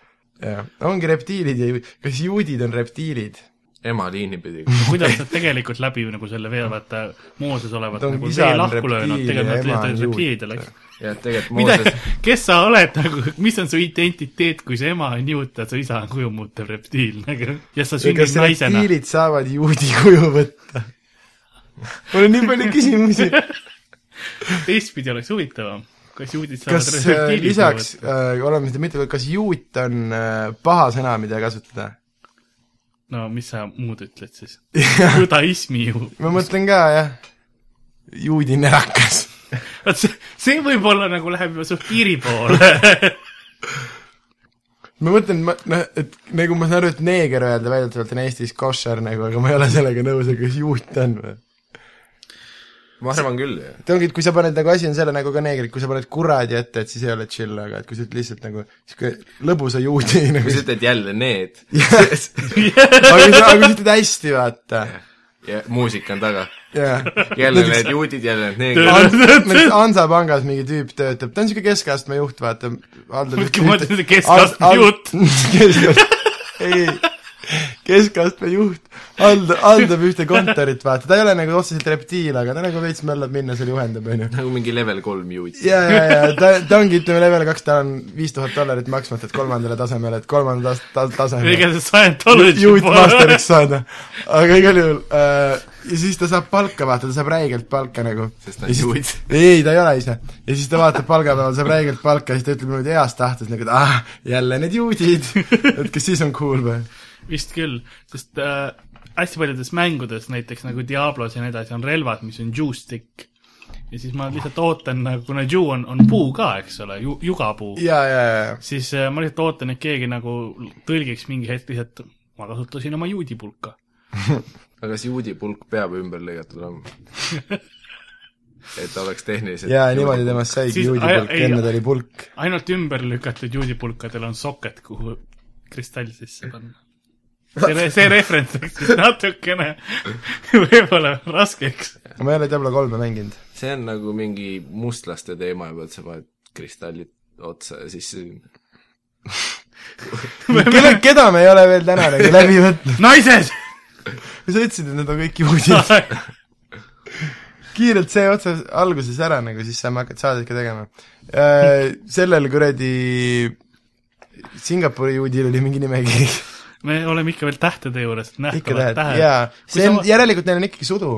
Speaker 3: jah , ongi reptiilid ja juudid , kas juudid on reptiilid ?
Speaker 4: ema liini pidi .
Speaker 2: kuidas nad tegelikult läbi nagu selle vee , vaata Mooses olevat
Speaker 3: Ta on
Speaker 2: nagu
Speaker 3: isa
Speaker 2: vee
Speaker 3: on
Speaker 2: lahku löönud ,
Speaker 3: reptiil ja
Speaker 2: tegelikult
Speaker 3: ema
Speaker 2: nad
Speaker 3: on
Speaker 2: olid
Speaker 3: juut.
Speaker 2: reptiilidel , eks .
Speaker 4: jah , tegelikult
Speaker 2: mida
Speaker 4: Mooses ,,
Speaker 2: kes sa oled nagu , mis on su identiteet , kui su ema on juut ja su isa on kujumuutev reptiil nagu ja sa
Speaker 3: ja
Speaker 2: sünnid
Speaker 3: kas
Speaker 2: naisena .
Speaker 3: reptiilid saavad juudi kuju võtta ? mul on nii palju küsimusi .
Speaker 2: teistpidi oleks huvitavam , kas juudid
Speaker 3: kas
Speaker 2: saavad
Speaker 3: äh,
Speaker 2: reptiilid nagu,
Speaker 3: lisaks äh, , oleme seda mitte , kas juut on äh, paha sõna , mida kasutada ?
Speaker 2: no mis sa muud ütled siis ? judaismi ju .
Speaker 3: ma mõtlen ka , jah . juudi närakas .
Speaker 2: vot see , see võib-olla nagu läheb juba suht piiri poole .
Speaker 3: ma mõtlen , ma , noh , et nagu ma saan aru , et neeger öelda väidetavalt on Eestis koššer nagu , aga ma ei ole sellega nõus , aga kas juut on või ?
Speaker 4: ma arvan küll , jah .
Speaker 3: et ongi , et kui sa paned nagu asi on selle nagu ka neegrid , kui sa paned kuradi ette , et siis ei ole chill , aga et kui sa ütled lihtsalt nagu sihuke lõbusa juudi nagu
Speaker 4: kui sa ütled jälle need
Speaker 3: aga kui sa aga kui sa ütled hästi , vaata .
Speaker 4: ja muusika on taga ,
Speaker 3: jah .
Speaker 4: jälle need juudid , jälle need neegrid ,
Speaker 3: näiteks Hansapangas mingi tüüp töötab , ta on siuke keskastme juht , vaata .
Speaker 2: Mõtle, ma ütlesin, et keskastme juht. .
Speaker 3: ei , keskastme juht haldab , haldab ühte kontorit , vaata , ta ei ole nagu otseselt reptiil , aga ta nagu veits möllab minna seal juhendab , onju .
Speaker 4: nagu mingi level kolm juut .
Speaker 3: ja , ja , ja ta , ta ongi , ütleme level kaks , tal on viis tuhat dollarit maksmata , et kolmandale tasemele , et kolmanda tas- , tas- , tasemele .
Speaker 2: ega see Scientology
Speaker 3: juut masteriks saada , aga igal juhul äh, ja siis ta saab palka , vaata , ta saab räigelt palka nagu .
Speaker 4: Sest ta on juut.
Speaker 3: ei , ta ei ole ise . ja siis ta vaatab palgapäeval , saab räigelt palka ja siis ta ütleb niimoodi heas tahtes nagu , et ah , jälle need juudid . et kas siis on cool või ?
Speaker 2: vist küll , sest äh, hästi paljudes mängudes , näiteks nagu Diablos ja nii edasi , on relvad , mis on juustick . ja siis ma lihtsalt ootan , kuna ju on , on puu ka , eks ole ju, , jugapuu ,
Speaker 3: ja , ja , ja ,
Speaker 2: siis äh, ma lihtsalt ootan , et keegi nagu tõlgiks mingi hetk lihtsalt , ma kasutasin oma juudipulka .
Speaker 4: aga kas juudi pulk peab ümber lõigatud olema ? et ta oleks tehniliselt
Speaker 3: ja niimoodi temast saigi
Speaker 2: Siis-
Speaker 3: juudi
Speaker 2: ai-
Speaker 3: pulk ,
Speaker 2: ei-
Speaker 3: enne ta oli pulk .
Speaker 2: ainult ümber lükatud juudipulkadel on soket , kuhu kristall sisse panna . see , see referents läks vist natukene võib-olla raskeks .
Speaker 3: ma ei ole Diablo kolme mänginud .
Speaker 4: see on nagu mingi mustlaste teema juba , et sa paned kristallid otsa ja siis
Speaker 3: kelle , keda me ei ole veel täna nagu läbi võtnud ?
Speaker 2: naised !
Speaker 3: sa ütlesid , et need on kõik juudid . kiirelt see otsas alguses ära nagu , siis saame hakata saadet ka tegema . sellel kuradi Singapuri juudil oli mingi nimekiri ,
Speaker 2: me oleme ikka veel tähtede juures ,
Speaker 3: ikka
Speaker 2: nähtavad
Speaker 3: tähed ,
Speaker 2: tähed .
Speaker 3: jaa . see on ,
Speaker 2: sa... ja...
Speaker 3: järelikult neil on ikkagi sudu .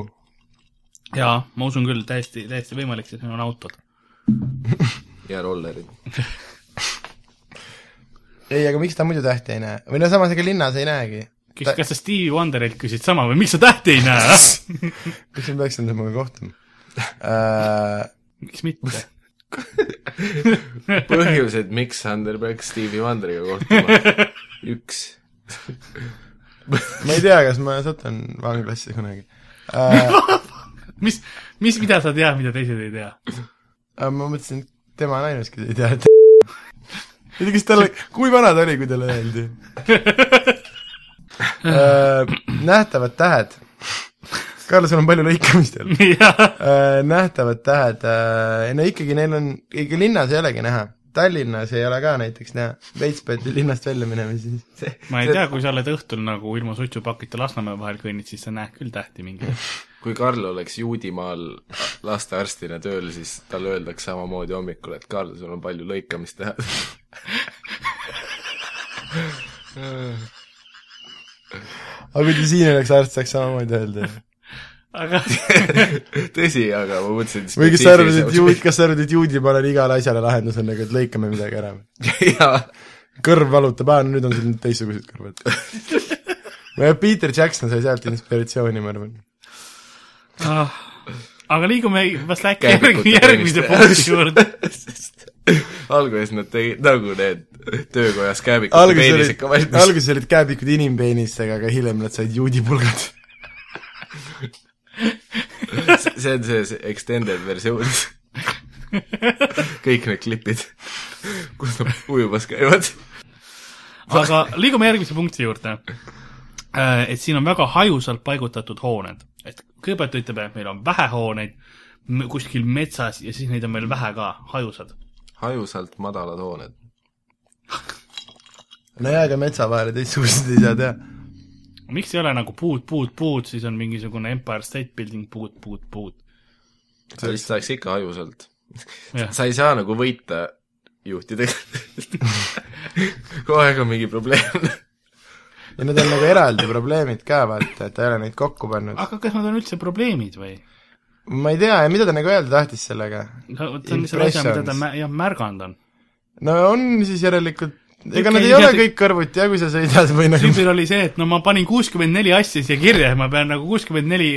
Speaker 2: jaa , ma usun küll , täiesti , täiesti võimalik , sest meil on autod .
Speaker 4: ja rollerid .
Speaker 3: ei , aga miks ta muidu tähti ei näe ? või no samas ega linnas ei näegi .
Speaker 2: kas , kas sa Stevie Wonderilt küsid sama või miks sa tähti ei näe ?
Speaker 3: miks ma peaksin temaga kohtuma uh, ?
Speaker 2: miks mitte ?
Speaker 4: põhjused , miks Sander peaks Stevie Wonderiga kohtuma . üks .
Speaker 3: ma ei tea , kas ma satun vanglasse kunagi uh, .
Speaker 2: mis , mis , mida sa tead , mida teised ei tea ?
Speaker 3: ma mõtlesin , et tema on ainus , kes ei tea , et ma ei tea , kas talle , kui vana ta oli , kui talle öeldi uh, ? nähtavad tähed . Karl , sul on palju lõikamist jälle .
Speaker 2: jah ,
Speaker 3: nähtavad tähed uh, , no ikkagi neil on , ikka linnas ei olegi näha . Tallinnas ei ole ka näiteks näha , veits peate linnast välja minema siis .
Speaker 2: ma ei tea , kui sa oled õhtul nagu ilma suitsupakita Lasnamäe vahel kõnnid , siis sa näed küll tähti mingi .
Speaker 4: kui Karl oleks Juudimaal lastearstina tööl , siis talle öeldaks samamoodi hommikul , et Karl , sul on palju lõikamist teha .
Speaker 3: aga kui ta siin oleks arst , saaks samamoodi öelda .
Speaker 2: aga
Speaker 4: tõsi , aga ma mõtlesin
Speaker 3: või kas sa arvad , et juud , kas sa arvad , et juudi panel igale asjale lahendus on nagu , et lõikame midagi ära või ?
Speaker 4: jaa ,
Speaker 3: kõrv valutab , aa , nüüd on sul nüüd teistsugused kõrvad . Peter Jackson sai sealt inspiratsiooni , ma arvan .
Speaker 2: ah, aga liigume vast äkki
Speaker 4: Käibikute
Speaker 2: järg, järgmise
Speaker 4: tegemiste-
Speaker 2: punkti juurde .
Speaker 4: alguses nad tegid nagu need töökojas kääbikud
Speaker 3: alguses
Speaker 4: peenised ka
Speaker 3: olid ,
Speaker 4: valmis .
Speaker 3: alguses olid kääbikud inimpeenistega , aga hiljem nad said juudipulgad .
Speaker 4: see on see see extended versioon . kõik need klipid , kus nad ujumas käivad .
Speaker 2: aga liigume järgmise punkti juurde . et siin on väga hajusalt paigutatud hooned , et kõigepealt ta ütleb , et meil on vähe hooneid m- kuskil metsas ja siis neid on meil vähe ka , hajusad .
Speaker 4: hajusalt madalad hooned .
Speaker 3: nojah , aga metsa vahele teistsuguseid ei saa teha .
Speaker 2: miks ei ole nagu puud , puud , puud , siis on mingisugune Empire State Building puud , puud , puud .
Speaker 4: sa vist saaks ikka hajusalt .
Speaker 2: Jah.
Speaker 4: sa ei saa nagu võita juhtidega . kogu aeg on mingi probleem .
Speaker 3: ja need on nagu eraldi probleemid ka , vaata , et ta ei ole neid kokku pannud .
Speaker 2: aga kas nad on üldse probleemid või ?
Speaker 3: ma ei tea , mida ta nagu öelda tahtis sellega ?
Speaker 2: see on selle asja , mida ta mä- jah , märganud on .
Speaker 3: no on siis järelikult , ega nad ei
Speaker 2: Ikkagi
Speaker 3: ole
Speaker 2: tead-
Speaker 3: kõik kõrvuti ja kui sa sõidad või nagu
Speaker 2: tüübil oli see , et no ma panin kuuskümmend neli asja siia kirja ja ma pean nagu kuuskümmend neli ,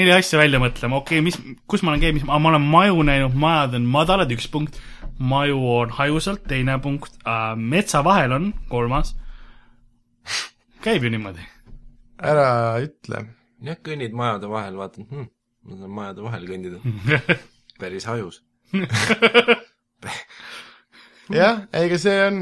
Speaker 2: neli asja välja mõtlema , okei okay, , mis , kus ma olen käinud , mis , ma olen maju näinud , majad on madalad , üks punkt , maju on hajusalt , teine punkt äh, , metsa vahel on kolmas . käib ju niimoodi .
Speaker 3: ära ütle .
Speaker 4: jah , kõnnid majade vahel , vaatad hm, , ma saan majade vahel kõndida . päris hajus .
Speaker 3: jah , ega see on ,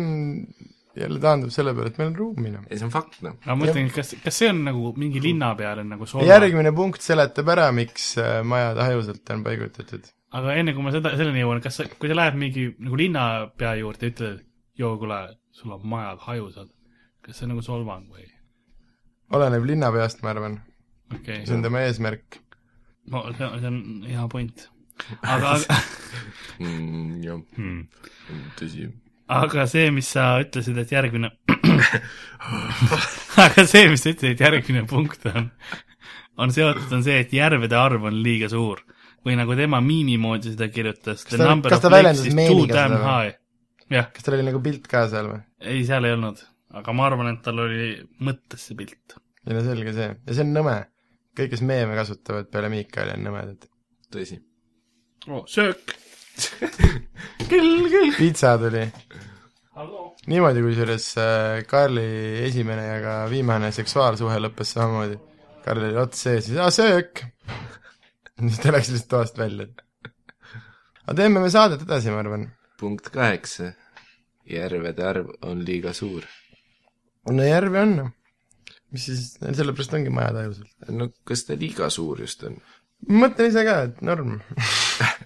Speaker 3: jälle taandub selle peale , et meil on ruumi enam .
Speaker 4: ei , see on fakt , noh .
Speaker 2: aga ma mõtlen , kas , kas see on nagu mingi linna peal on nagu soov ,
Speaker 3: järgmine punkt seletab ära , miks äh, majad hajusalt on paigutatud .
Speaker 2: aga enne kui ma seda , selleni jõuan , kas sa , kui sa lähed mingi nagu linnapea juurde ja ütled , et joo , kuule , sul on majad hajusad , kas see on nagu solvang või ?
Speaker 3: oleneb linnapeast , ma arvan ,
Speaker 2: okei
Speaker 3: see
Speaker 2: okay. ,
Speaker 3: on tema eesmärk .
Speaker 2: no see on , see on hea point . aga ,
Speaker 4: Mm, jah ,
Speaker 2: aga ,
Speaker 3: Hmm.
Speaker 4: tõsi .
Speaker 2: aga see , mis sa ütlesid , et järgmine aga see , mis sa ütlesid , et järgmine punkt on , on seotud , on see , et järvede arv on liiga suur või nagu tema miimi moodi seda kirjutas .
Speaker 3: ta- kas ta väljendas meemiga seda või?
Speaker 2: jah ,
Speaker 3: kas tal oli nagu pilt ka seal või ?
Speaker 2: ei , seal ei olnud , aga ma arvan , et tal oli mõttes see pilt .
Speaker 3: ei no selge see , ja see on nõme . kõik , kes meeme kasutavad peale Miikali , on nõmedad .
Speaker 4: tõsi .
Speaker 2: oo , söök .
Speaker 3: pitsa tuli ,
Speaker 2: halloo .
Speaker 3: niimoodi kusjuures äh, Karli esimene ja ka viimane seksuaalsuhe lõppes samamoodi . Karl oli ots sees , siis aa söök . siis ta läks lihtsalt toast välja . aga teeme me saadet edasi , ma arvan .
Speaker 4: punkt kaheksa . järvede arv on liiga suur .
Speaker 3: no järve on . mis siis , sellepärast ongi majad ajusalt .
Speaker 4: no kas ta liiga suur just on ?
Speaker 3: mõtlen ise ka , et norm .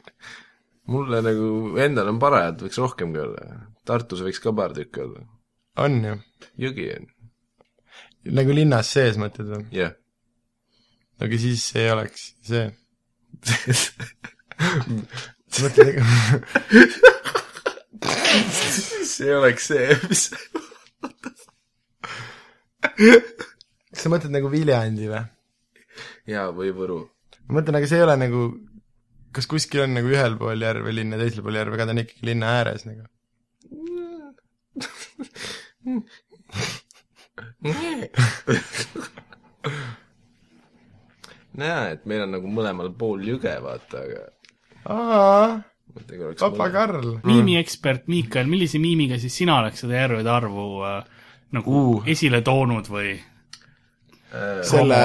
Speaker 4: mulle nagu endal on parajad , võiks rohkemgi olla . Tartus võiks ka paar tükki olla .
Speaker 3: on ju .
Speaker 4: jõgi on ,
Speaker 3: nagu linnas sees mõtled või ?
Speaker 4: jah .
Speaker 3: aga siis ei oleks see . mõtled , nagu- ega
Speaker 4: see oleks see , mis
Speaker 3: kas sa mõtled nagu Viljandi või ?
Speaker 4: jaa , või Võru .
Speaker 3: ma mõtlen , aga see ei ole nagu , kas kuskil on nagu ühel pool järve linn ja teisel pool järve , aga ta on ikkagi linna ääres nagu .
Speaker 4: näe , et meil on nagu mõlemal pool jõge , vaata , aga
Speaker 3: aa ,
Speaker 4: mõtle , kui oleks
Speaker 3: papa
Speaker 4: mõlemal-
Speaker 3: Karl .
Speaker 2: miimiekspert Miikael , millise miimiga siis sina oleks seda järvede arvu äh, nagu uh. esile toonud või ?
Speaker 3: selle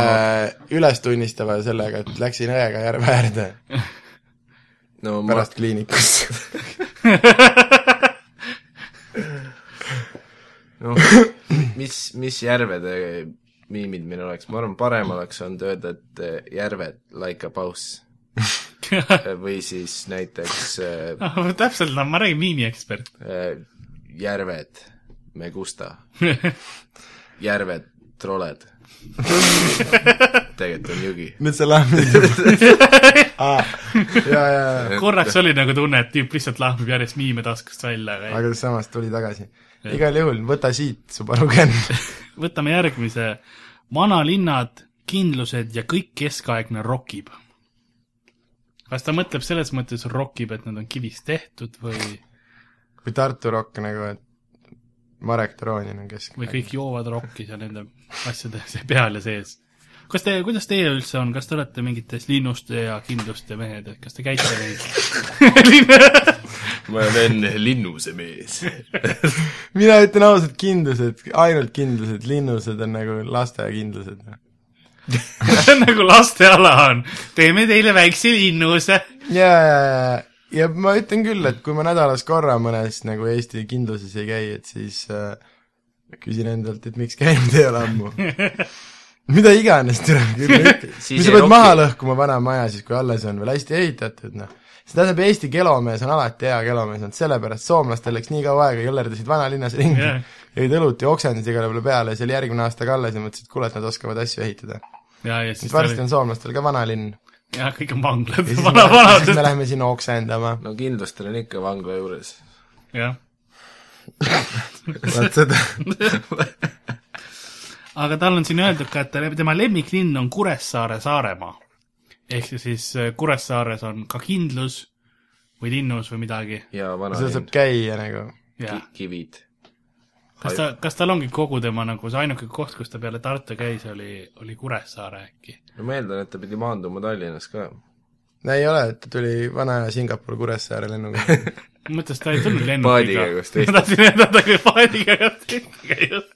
Speaker 3: üles tunnistava sellega , et läksin õega järve äärde
Speaker 4: no ma
Speaker 3: pärast kliinikusse .
Speaker 4: noh , mis , mis järvede miimid meil oleks , ma arvan , parem oleks olnud öelda , et eh, järved like a boss või siis näiteks eh,
Speaker 2: täpselt , no ma räägin miimiekspert .
Speaker 4: eh, järved me gusta , järved troled . tegelikult on jõgi .
Speaker 3: nüüd sa lahmid aa , jaa , jaa ,
Speaker 2: korraks oli nagu tunne , et tüüp lihtsalt lahmib järjest miime taskust välja , aga ei.
Speaker 3: aga samas tuli tagasi . igal juhul , võta siit , Subaru Grand .
Speaker 2: võtame järgmise . vanalinnad , kindlused ja kõik keskaegne rokib . kas ta mõtleb selles mõttes rokib , et nad on kivist tehtud või ,
Speaker 3: või Tartu Rock nagu , et Marek Toroonin on kesk- .
Speaker 2: või kõik joovad rokki seal nende asjade se- peal ja sees ? kas te , kuidas teie üldse on , kas te olete mingites linnuste ja kindluste mehed , et kas te käite neid ?
Speaker 4: ma olen linnuse mees .
Speaker 3: mina ütlen ausalt , kindlused , ainult kindlused , linnused on nagu lasteaiakindlused .
Speaker 2: see on nagu lasteala on , teeme teile väikse linnuse .
Speaker 3: ja , ja , ja ma ütlen küll , et kui ma nädalas korra mõnes nagu Eesti kindluses ei käi , et siis äh, küsin endalt , et miks käinud ei ole ammu . mida iganes , türa küll ütle .
Speaker 4: Siis
Speaker 3: mis sa
Speaker 4: ei
Speaker 3: pead
Speaker 4: roki.
Speaker 3: maha lõhkuma vana maja siis , kui alles on veel hästi ehitatud , noh . see tähendab , Eesti kelomees on alati hea kelomees olnud , sellepärast soomlastel läks nii kaua aega , jõllerdasid vanalinnas ringi
Speaker 2: Jah.
Speaker 3: yeah. , jõid õlut ja oksendasid igale poole peale ja see oli järgmine aasta ka alles ja mõtlesid , et kuule , et nad oskavad asju ehitada .
Speaker 2: ja , ja siis
Speaker 3: siis varsti on soomlastel ka vanalinn .
Speaker 2: ja kõik on vanglad
Speaker 3: ja , siis
Speaker 2: vana ,
Speaker 3: me- siis
Speaker 2: vanad ,
Speaker 3: me läheme sinna oksendama .
Speaker 4: no kindlustel on ikka vangla juures .
Speaker 2: jah .
Speaker 3: vaat seda
Speaker 2: aga tal on siin öeldud ka , et ta- tema lemmiklinn on Kuressaare Saaremaa . ehk siis- siis äh, Kuressaares on ka kindlus või linnus või midagi
Speaker 4: ja vana
Speaker 3: seal
Speaker 4: linn
Speaker 3: saab , käia nagu .
Speaker 2: ja
Speaker 4: kivid .
Speaker 2: kas ta , kas tal ongi kogu tema nagu see ainuke koht , kus ta peale Tartu käis , oli , oli Kuressaare äkki ?
Speaker 4: no ma eeldan , et ta pidi maanduma Tallinnas ka .
Speaker 3: no ei ole , ta tuli vana aja Singapur Kuressaare lennuga .
Speaker 2: ma mõtlesin , et ta ei tulnud
Speaker 4: Paadiga
Speaker 2: lennukiga .
Speaker 4: koos teistega.
Speaker 2: ma tahtsin öelda , ta käis paadiga koos teistega just .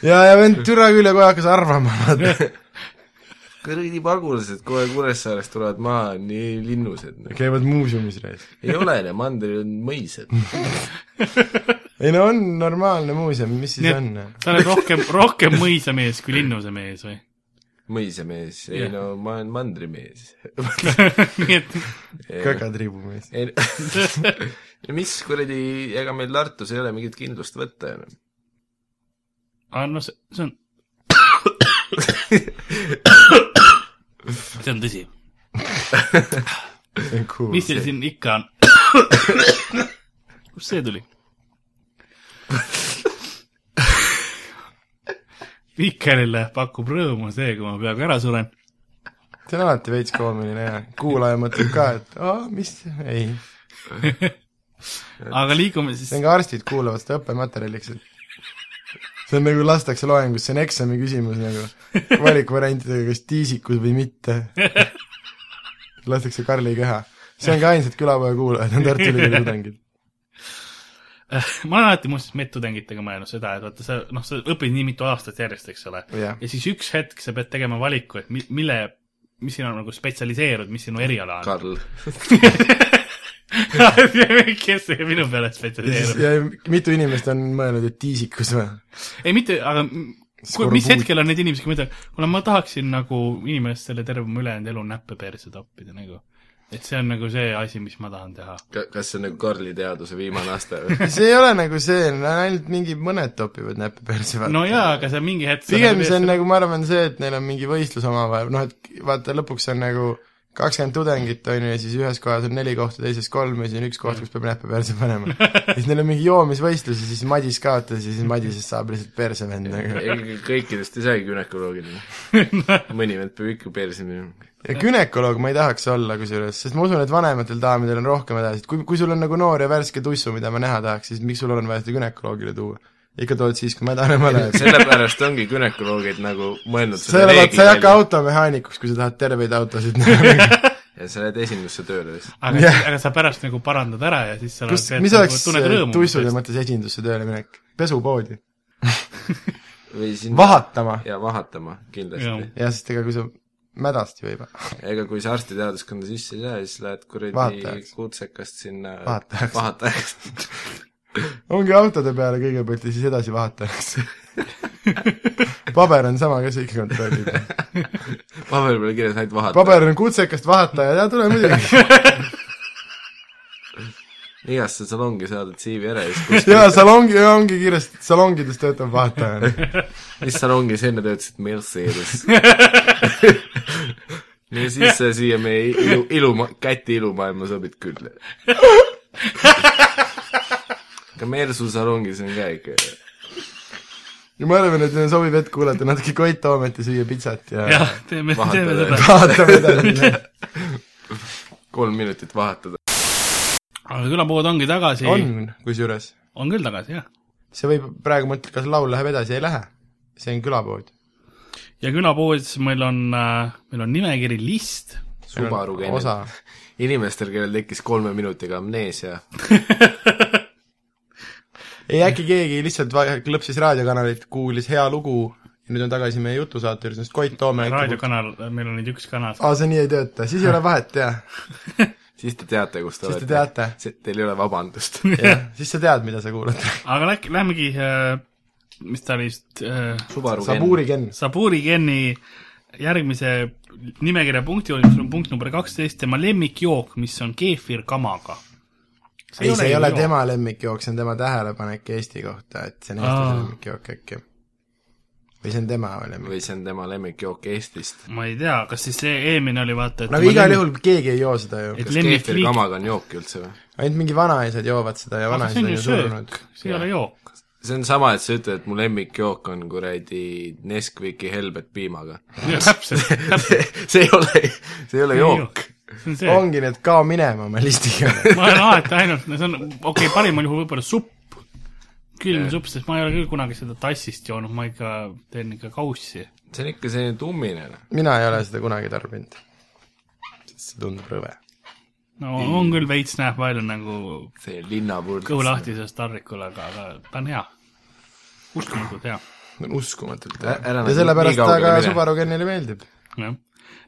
Speaker 3: ja , ja vend türa küll ja kohe hakkas arvama , vaata .
Speaker 4: kuradi pagulased kohe Kuressaarest tulevad maha , nii linnused .
Speaker 3: käivad muuseumis reis .
Speaker 4: ei ole , need mandril on mõised .
Speaker 3: ei no on normaalne muuseum , mis siis
Speaker 2: Nii
Speaker 3: on ?
Speaker 2: et sa oled rohkem , rohkem mõisamees kui linnusemees või ?
Speaker 4: mõisemees , ei
Speaker 2: Jah.
Speaker 4: no ma olen mandrimees .
Speaker 2: nii et
Speaker 3: kakatriibumees .
Speaker 4: ei no mis kuradi , ega meil Tartus ei ole mingit kindlust võtta noh. enam .
Speaker 2: aga noh , see see on , see on tõsi .
Speaker 3: see on cool .
Speaker 2: mis teil siin ikka on ? kust see tuli ? Mihkelile pakub rõõmu see , kui ma peaaegu ära suren .
Speaker 3: see on alati veits koomiline ja kuulaja mõtleb ka , et aa , mis , ei .
Speaker 2: aga liigume siis
Speaker 3: see on , ka arstid kuulavad seda õppematerjaliks , et see on nagu lastakse loengus , see on eksami küsimus nagu , valikvariantidega , kas tiisikus või mitte . lastakse Karli keha . see on ka ainsad külapoja kuulajad , on Tartu Ülikooli tudengid .
Speaker 2: Äh, ma olen alati muuseas medtudengitega mõelnud seda , et vaata sa , noh , sa õpid nii mitu aastat järjest , eks ole .
Speaker 3: Jah.
Speaker 2: ja siis üks hetk sa pead tegema valiku , et mi- mille , mis sina nagu spetsialiseerud , mis sinu eriala on .
Speaker 4: Karl .
Speaker 2: kes see minu peale spetsialiseerub ?
Speaker 3: ja mitu inimest on mõelnud , et tiisikus või ?
Speaker 2: ei mitte , aga m- kui, mis
Speaker 3: Skorbuut.
Speaker 2: hetkel on need inimesed , kes mõtlevad , kuule ma tahaksin nagu inimestele terve mu ülejäänud elu näppe perse toppida nagu . et see on nagu see asi , mis ma tahan teha .
Speaker 4: kas see on nagu Karli teaduse viimane aste või ?
Speaker 3: see ei ole nagu see , ainult mingi mõned topivad näppe perse vaata .
Speaker 2: no jaa , aga sa mingi hetk
Speaker 3: pigem see on nagu , ma arvan , see , et neil on mingi võistlus omavahel , noh et vaata , lõpuks on nagu kakskümmend tudengit , on ju , ja siis ühes kohas on neli kohta , teises kolm ja siis on üks koht , kus peab näppe perse panema . ja siis neil on mingi joomisvõistlus ja siis Madis kaotas ja siis Madisest saab lihtsalt perse vend nagu .
Speaker 4: kõikidest ei saagi gümnakoloogiline . mõni vend peab ikka perse minema .
Speaker 3: ja gümnakoloog ma ei tahaks olla kusjuures , sest ma usun , et vanematel daamidel on rohkem hädasid , kui , kui sul on nagu noor ja värske tussu , mida ma näha tahaks , siis miks sul on vaja seda gümnakoloogile tuua ? ikka tood siis , kui mädanema oled .
Speaker 4: sellepärast ongi gümnakoloogid nagu mõelnud
Speaker 3: sa ei ole , vaata , sa ei hakka automehaanikuks , kui sa tahad terveid autosid näha .
Speaker 4: ja sa lähed esindusse tööle lihtsalt .
Speaker 2: aga
Speaker 3: Jah.
Speaker 2: yeah. , aga sa pärast nagu parandad ära ja siis sa
Speaker 3: kus ,
Speaker 2: oled-
Speaker 3: mis oleks
Speaker 2: nagu
Speaker 3: äh,
Speaker 2: tunned rõõmu
Speaker 3: tuissude
Speaker 2: sellest.
Speaker 3: mõttes esindusse tööle minek ? pesupoodi .
Speaker 4: või sinna
Speaker 3: vahatama .
Speaker 4: ja vahatama kindlasti .
Speaker 3: jah , sest ega kui sa mädast ju ei pea .
Speaker 4: ega kui sa arstiteaduskonda sisse ei saa , siis lähed kuradi
Speaker 3: Vahatajaks.
Speaker 4: kutsekast sinna
Speaker 3: Vahatajaks.
Speaker 4: vahatajaks.
Speaker 3: ongi autode peale kõigepealt ja siis edasi vahatajaks . paber on sama , kes ikka kontrollib .
Speaker 4: paberi peal kirjas ainult vahataja .
Speaker 3: paber on kutsekast vahataja , jaa , tule muidugi .
Speaker 4: igasse salongi saadad CV ära ja siis kus ,
Speaker 3: jaa , salongi , ongi kiiresti , salongides töötav vahataja .
Speaker 4: mis salongis enne töötasid Mercedes . ja siis sa siia meie ilu , iluma- , käti ilumaailma sobid küll . ka Mersu salongis on ka ikka .
Speaker 3: ja ma arvan , et neil sobib hetk kuulata natuke Koit Toomet ja süüa pitsat ja
Speaker 2: jah , teeme ,
Speaker 4: Vahetada.
Speaker 2: teeme seda .
Speaker 3: vahatame edasi .
Speaker 4: kolm minutit vahatada .
Speaker 2: aga külapood ongi tagasi .
Speaker 3: on , kusjuures .
Speaker 2: on küll tagasi , jah .
Speaker 3: see võib , praegu mõtled , kas laul läheb edasi , ei lähe . see on külapood
Speaker 2: ja külapoodis meil on , meil on nimekiri list .
Speaker 4: Subaru
Speaker 3: Meil on
Speaker 4: käinud
Speaker 3: osa. .
Speaker 4: inimestel , kellel tekkis kolme minutiga amneesia ,
Speaker 3: ei , äkki keegi lihtsalt va- klõpsis raadiokanalit , kuulis hea lugu ja nüüd on tagasi meie jutusaate juures , sest Koit Toome
Speaker 2: raadiokanal , meil on nüüd üks kanal .
Speaker 3: aa , see nii ei tööta , siis ei ole vahet , jah . Ah.
Speaker 4: siis te teate , kus te
Speaker 3: Siis te
Speaker 4: olete .
Speaker 3: teate.
Speaker 4: Teil ei ole vabandust .
Speaker 3: jah , siis sa tead , mida sa kuulad .
Speaker 2: aga läk- , lähmegi , mis ta oli just ,
Speaker 4: Subaru
Speaker 3: Saburi
Speaker 4: käinud .
Speaker 3: Ken .
Speaker 2: Saburi Geni järgmise nimekirja punkti juures , mis on punkt number kaksteist , tema lemmikjook , mis on keefir kamaga .
Speaker 3: ei , see ei ole tema lemmikjook , see on tema tähelepanek Eesti kohta , et see on
Speaker 2: Aa.
Speaker 3: eestlase lemmikjook äkki . või see on tema lemmik .
Speaker 4: või see on tema lemmikjook Eestist .
Speaker 2: ma ei tea , kas siis see eelmine oli vaata , et
Speaker 3: no
Speaker 2: tema
Speaker 3: aga Nagu igal
Speaker 2: lemmik-
Speaker 3: juhul keegi ei joo seda ju .
Speaker 2: et
Speaker 4: kas keefir
Speaker 2: lemmikliik ,
Speaker 4: kamaga on jook üldse või ?
Speaker 3: ainult mingi vanaisad joovad seda ja
Speaker 2: aga see on
Speaker 3: vanaisad on
Speaker 2: ju
Speaker 3: ju
Speaker 2: söök
Speaker 3: surnud .,
Speaker 2: see ei ole jook .
Speaker 4: see on sama , et sa ütled , et mu lemmikjook on kuradi Nesquiki helbed piimaga .
Speaker 2: täpselt , täpselt ,
Speaker 4: see ei ole , see ei ole jook .
Speaker 2: see on see .
Speaker 3: ongi need Kao minema oma listiga .
Speaker 2: ma olen alati ainult , no see on , okei okay, , parimal juhul võib-olla supp , külm supp , sest ma ei ole küll kunagi seda tassist joonud , ma ikka teen ikka kaussi .
Speaker 4: see on ikka selline tummine . noh.
Speaker 3: mina ei ole seda kunagi tarbinud . sest see tundub rõve
Speaker 2: no on küll veits näeb välja nagu
Speaker 4: see linnapurd .
Speaker 2: kõhu . lahtisest tarvikul , aga , aga ta on hea . uskumatult hea ,
Speaker 3: see on uskumatult
Speaker 4: Ä- ära
Speaker 3: hea .
Speaker 4: nagu
Speaker 3: ja sellepärast
Speaker 4: nii
Speaker 3: ta
Speaker 4: kaugele
Speaker 3: ka
Speaker 4: mine.
Speaker 3: Subaru Kenile meeldib .
Speaker 2: jah .
Speaker 3: aga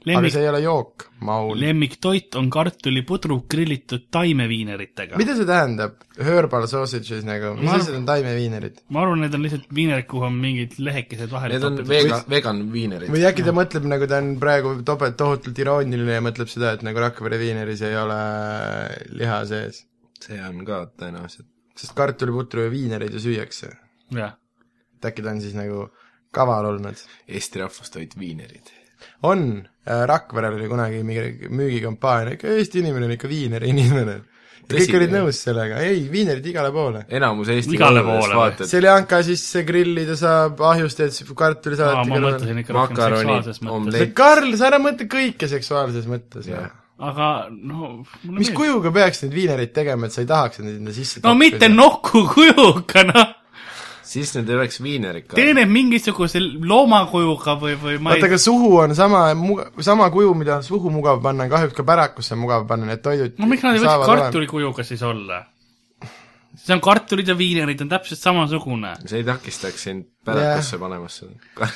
Speaker 2: lemmik
Speaker 3: see , ei ole jook , maul .
Speaker 2: lemmiktoit on kartulipudru grillitud taimeviineriga .
Speaker 3: mida see tähendab , herbal sausages nagu , mis
Speaker 2: Ma arv-
Speaker 3: asjad on taimeviinerid ?
Speaker 2: ma arvan , need on lihtsalt viinerid , kuhu on mingid lehekesed vahele
Speaker 4: Need on
Speaker 2: topitud.
Speaker 4: vegan , vegan viinerid .
Speaker 3: või äkki ta mõtleb nagu ta on praegu topelt tohutult irooniline ja mõtleb seda , et nagu Rakvere viineris ei ole liha sees .
Speaker 4: see on ka tõenäoliselt .
Speaker 3: sest kartuliputru ja viinereid ju süüakse .
Speaker 2: jah ,
Speaker 3: et äkki ta on siis nagu kaval olnud .
Speaker 4: Eesti rahvustoit viinerid .
Speaker 3: on , Rakverel oli kunagi mingi müügikampaania , ikka Eesti inimene on ikka viineri inimene . ja kõik
Speaker 4: Tõsi,
Speaker 3: olid
Speaker 4: jah.
Speaker 3: nõus sellega , ei , viinerid igale poole .
Speaker 4: enamus Eesti
Speaker 2: Igale
Speaker 4: kodudes
Speaker 2: poole või?
Speaker 4: vaatad
Speaker 3: seljanka sisse grillida saab , ahjust teed
Speaker 2: aa , ma
Speaker 3: kartulisalati .
Speaker 2: mõtlesin ikka rohkem
Speaker 4: Makaronid,
Speaker 2: seksuaalses mõttes
Speaker 4: omleet. .
Speaker 3: Karl , sa ära mõtle kõike seksuaalses mõttes .
Speaker 4: Jah.
Speaker 2: aga no mulle
Speaker 3: mis
Speaker 2: meeldib .
Speaker 3: kujuga peaks neid viinereid tegema , et sa ei tahaks et neid enda sisse
Speaker 2: no mitte . nokku kujuga , noh .
Speaker 4: siis need ei oleks viinerid ka .
Speaker 2: tee need mingisuguse loomakujuga või , või ma
Speaker 3: vaata ,
Speaker 2: ei
Speaker 3: aga suhu on sama , sama kuju , mida on suhu mugav panna , on kahjuks ka pärakusse mugav panna , need toidud
Speaker 2: no miks nad ei võiks
Speaker 3: saavad olema-
Speaker 2: kartulikujuga siis olla ? see on kartulid ja viinerid on täpselt samasugune .
Speaker 4: see ei takistaks sind pärakusse yeah. panemast seda .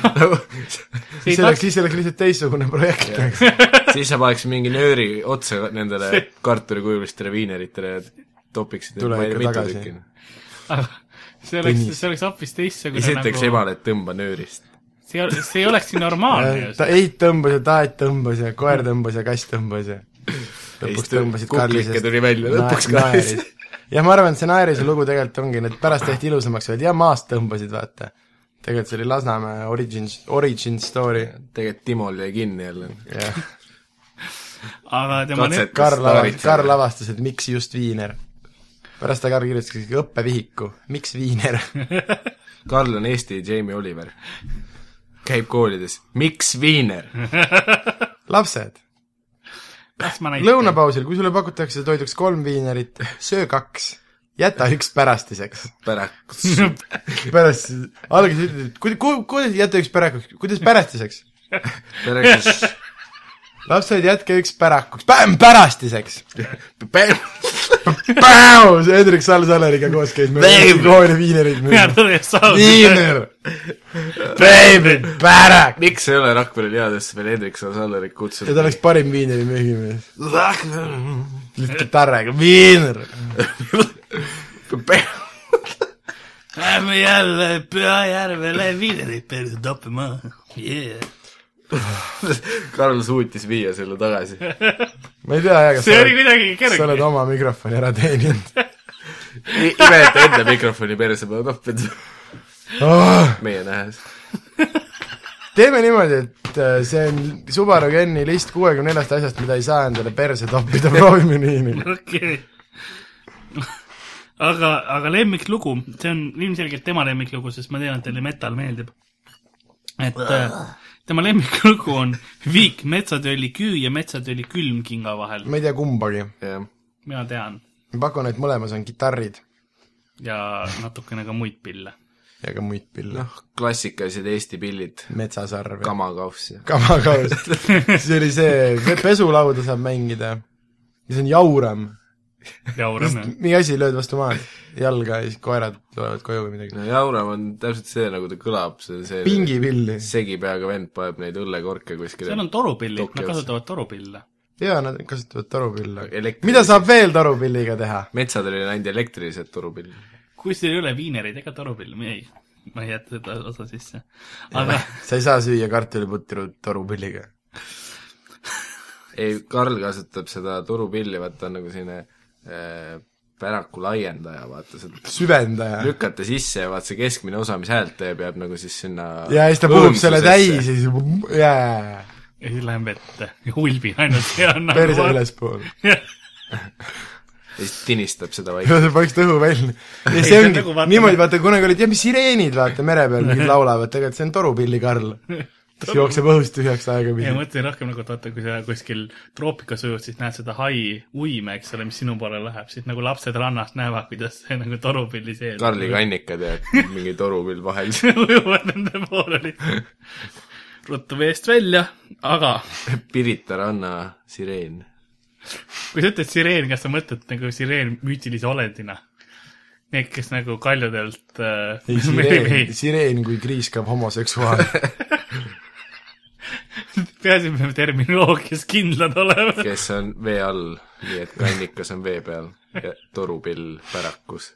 Speaker 2: ei
Speaker 3: see oleks , siis oleks lihtsalt teistsugune projekt , eks .
Speaker 4: siis sa paneks mingi nööri otsa nendele kartulikujulistele viineritele ja topiksid neid
Speaker 3: Tule
Speaker 4: ma ei
Speaker 3: ikka
Speaker 4: tea mitu
Speaker 3: tagasi.
Speaker 4: tükki .
Speaker 2: see oleks ,
Speaker 3: Tõnis.
Speaker 2: see oleks hoopis teistsugune nagu-
Speaker 4: siis ütleks emale , et tõmba nöörist .
Speaker 2: see ei ole , see ei oleks nii normaalne ju
Speaker 3: Äh, ta . eit tõmbas ja taet tõmbas ja koer tõmbas ja kass tõmbas ja
Speaker 4: siis
Speaker 3: lõpuks
Speaker 4: tuli-
Speaker 3: tõmbasid
Speaker 4: kuklike
Speaker 3: Karlisest.
Speaker 4: tuli välja,
Speaker 3: Na-
Speaker 4: lõpuks
Speaker 3: naeris.
Speaker 4: Karlis.
Speaker 3: jah , ma arvan , et see naerise lugu tegelikult ongi , need pärast tehti ilusamaks , öeldi ja maast tõmbasid , vaata . tegelikult see oli Lasnamäe origin , origin story .
Speaker 4: tegelikult Timol jäi kinni jälle .
Speaker 3: jah ,
Speaker 2: aga tema
Speaker 4: Katset-
Speaker 2: net-
Speaker 3: Karl
Speaker 4: Staarid.
Speaker 3: avastas , Karl avastas , et miks just viiner . pärast ta Karl kirjutas isegi õppevihiku , miks viiner .
Speaker 4: Karl on Eesti Jamie Oliver . käib koolides , miks viiner ?
Speaker 3: lapsed ,
Speaker 2: las ma näitan .
Speaker 3: lõunapausil , kui sulle pakutakse toiduks kolm viinerit , söö kaks , jäta üks pärastiseks
Speaker 4: pärakus .
Speaker 3: pärast , alguses ütled , et kuida- , ku- , kuidas jätta üks pärakuks , kuidas pärastiseks ?
Speaker 4: pärakus .
Speaker 3: lapsed , jätke üks pärakuks , pärastiseks . Hendrik Sal-Saleriga koos käis meil
Speaker 4: Babe!
Speaker 3: kooli viinerid müümas .
Speaker 2: lõunapausi .
Speaker 3: viiner , pärak .
Speaker 4: miks ei ole Rakvere liadesse veel Hendrik Sallerit
Speaker 3: ja ta
Speaker 4: kutsunud ?
Speaker 3: oleks parim viineri müügimees . lihtsalt kitarraga , viiner .
Speaker 2: Lähme jälle Pühajärvele viinerit perse toppima yeah. .
Speaker 4: Karl suutis viia selle tagasi .
Speaker 3: ma ei tea jah , kas
Speaker 2: see oli
Speaker 3: sa
Speaker 2: kuidagi
Speaker 3: oled- sa oled
Speaker 2: kerge .
Speaker 3: oma mikrofoni ära teeninud
Speaker 4: ime , et ta enda mikrofoni perse peale toppida ,
Speaker 3: oh. .
Speaker 4: meie nähes .
Speaker 3: teeme niimoodi , et äh, see on Subaru Geni list kuuekümne neljast asjast , mida ei saa endale perse toppida , proovime nii .
Speaker 2: okei . aga , aga lemmiklugu , see on ilmselgelt tema lemmiklugu , sest ma tean , et talle metal meeldib . et äh, tema lemmiklugu on Viik metsatööli küü ja metsatööli külmkinga vahel .
Speaker 3: ma ei tea kumbagi .
Speaker 4: jah ,
Speaker 2: mina tean
Speaker 3: ma pakun , et mõlemas on kitarrid
Speaker 2: ja natukene ka muid pille .
Speaker 3: ja ka muid pille no. .
Speaker 4: noh , klassikalised Eesti pillid ,
Speaker 3: metsasarv ja
Speaker 4: kamakauss ja
Speaker 3: kamakaus . see oli see , pesulauda saab mängida . ja see on jauram .
Speaker 2: jaurame .
Speaker 3: mingi asi , lööd vastu maad , jalga ja siis koerad tulevad koju või midagi .
Speaker 4: no Jauram on täpselt see , nagu ta kõlab , see on see
Speaker 3: pingipilli .
Speaker 4: segi peaga vend paneb neid õllekorke kuskile
Speaker 2: seal on torupillid ,
Speaker 4: Toki
Speaker 2: nad
Speaker 4: otsa.
Speaker 2: kasutavad torupille .
Speaker 3: jaa , nad kasutavad torupille .
Speaker 4: Elektri-
Speaker 3: mida saab veel torupilliga teha ?
Speaker 4: metsad olid ainult elektrilised turupillid .
Speaker 2: kui sul ei ole viinereid ega torupilli , ei , ma ei jäta seda osa sisse . aga
Speaker 3: sa ei saa süüa kartuliputru torupilliga .
Speaker 4: ei , Karl kasutab seda turupilli , vaata , on nagu selline äh, päraku laiendaja , vaata , sa
Speaker 3: süvendaja .
Speaker 4: lükata sisse ja vaat see keskmine osa , mis häält teeb , jääb nagu siis sinna
Speaker 3: ja siis ta puhub selle täis ja siis jää ,
Speaker 2: ja siis lähen vette ja hulbin ainult ja annan
Speaker 3: perse . ülespoole .
Speaker 4: ja siis tinistab seda vaikselt .
Speaker 3: paneks tõhu välja . ja
Speaker 2: see
Speaker 3: see
Speaker 2: on
Speaker 3: ongi
Speaker 2: nagu vaata-
Speaker 3: niimoodi , vaata kunagi olid jah , mis sireenid vaata mere peal mingid laulavad , tegelikult see on torupilli Karl . kes jookseb õhust tühjaks
Speaker 2: ja
Speaker 3: aegapidi .
Speaker 2: mõtlesin rohkem nagu , et vaata , kui sa kuskil troopikas ujud , siis näed seda hai uime , eks ole , mis sinu poole läheb , siis nagu lapsed rannas näevad , kuidas see nagu torupilli sees
Speaker 4: Karli kannikad ja mingi torupill vahel .
Speaker 2: ujuvad nende poole lihtsalt . ruttu veest välja , aga
Speaker 4: Pirita ranna sireen .
Speaker 2: kui sa ütled sireen , kas sa mõtled nagu sireen müütilise olendina ? Need , kes nagu kaljudelt äh,
Speaker 3: ei ,
Speaker 2: mehi- mehi-
Speaker 3: sireen , sireen kui kriiskav homoseksuaal .
Speaker 2: peaasi , et me terminoloogias kindlad oleme .
Speaker 4: kes on vee all , nii et kannikas on vee peal ja torupill pärakus .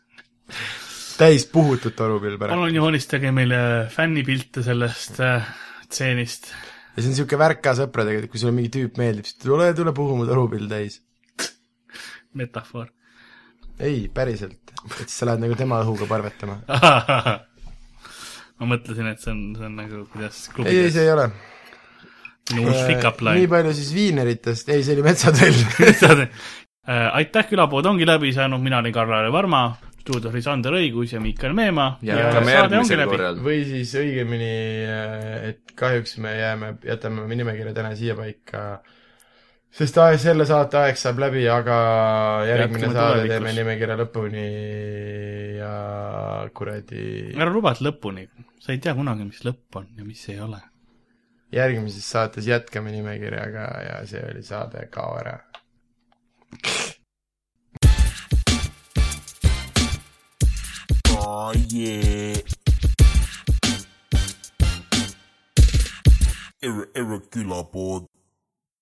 Speaker 3: täis puhutud torupill pärast .
Speaker 2: palun joonistage meile fännipilte sellest äh, stseenist .
Speaker 3: ja see on niisugune värk ka sõpradega , et kui sulle mingi tüüp meeldib , siis tule , tule puhu mu torupill täis .
Speaker 2: metafoor .
Speaker 3: ei , päriselt . et siis sa lähed nagu tema õhuga parvetama .
Speaker 2: ma mõtlesin , et see on , see on nagu , kuidas
Speaker 3: ei , ei ,
Speaker 2: klubides
Speaker 3: see ei ole .
Speaker 2: minu uus pickup
Speaker 3: nii
Speaker 2: line .
Speaker 3: palju siis viineritest , ei , see oli metsatöll .
Speaker 2: Äh, aitäh , külapood ongi läbi saanud , mina olin Karl-Lari Varma , stuudios oli Sander Õigus ja Miikal Meemaa .
Speaker 4: jätkame järgmisel . korral .
Speaker 3: või siis õigemini , et kahjuks me jääme , jätame oma nimekirja täna siia paika , sest aeg , selle saate aeg saab läbi , aga järgmine
Speaker 2: Jätkame
Speaker 3: saade
Speaker 2: tulevikus.
Speaker 3: teeme nimekirja lõpuni ja kuradi ,
Speaker 2: ära luba , et lõpuni , sa ei tea kunagi , mis lõpp on ja mis ei ole .
Speaker 3: järgmises saates jätkame nimekirjaga ja see oli saade Kao ära
Speaker 1: Oh yeah. Ir- irregular board.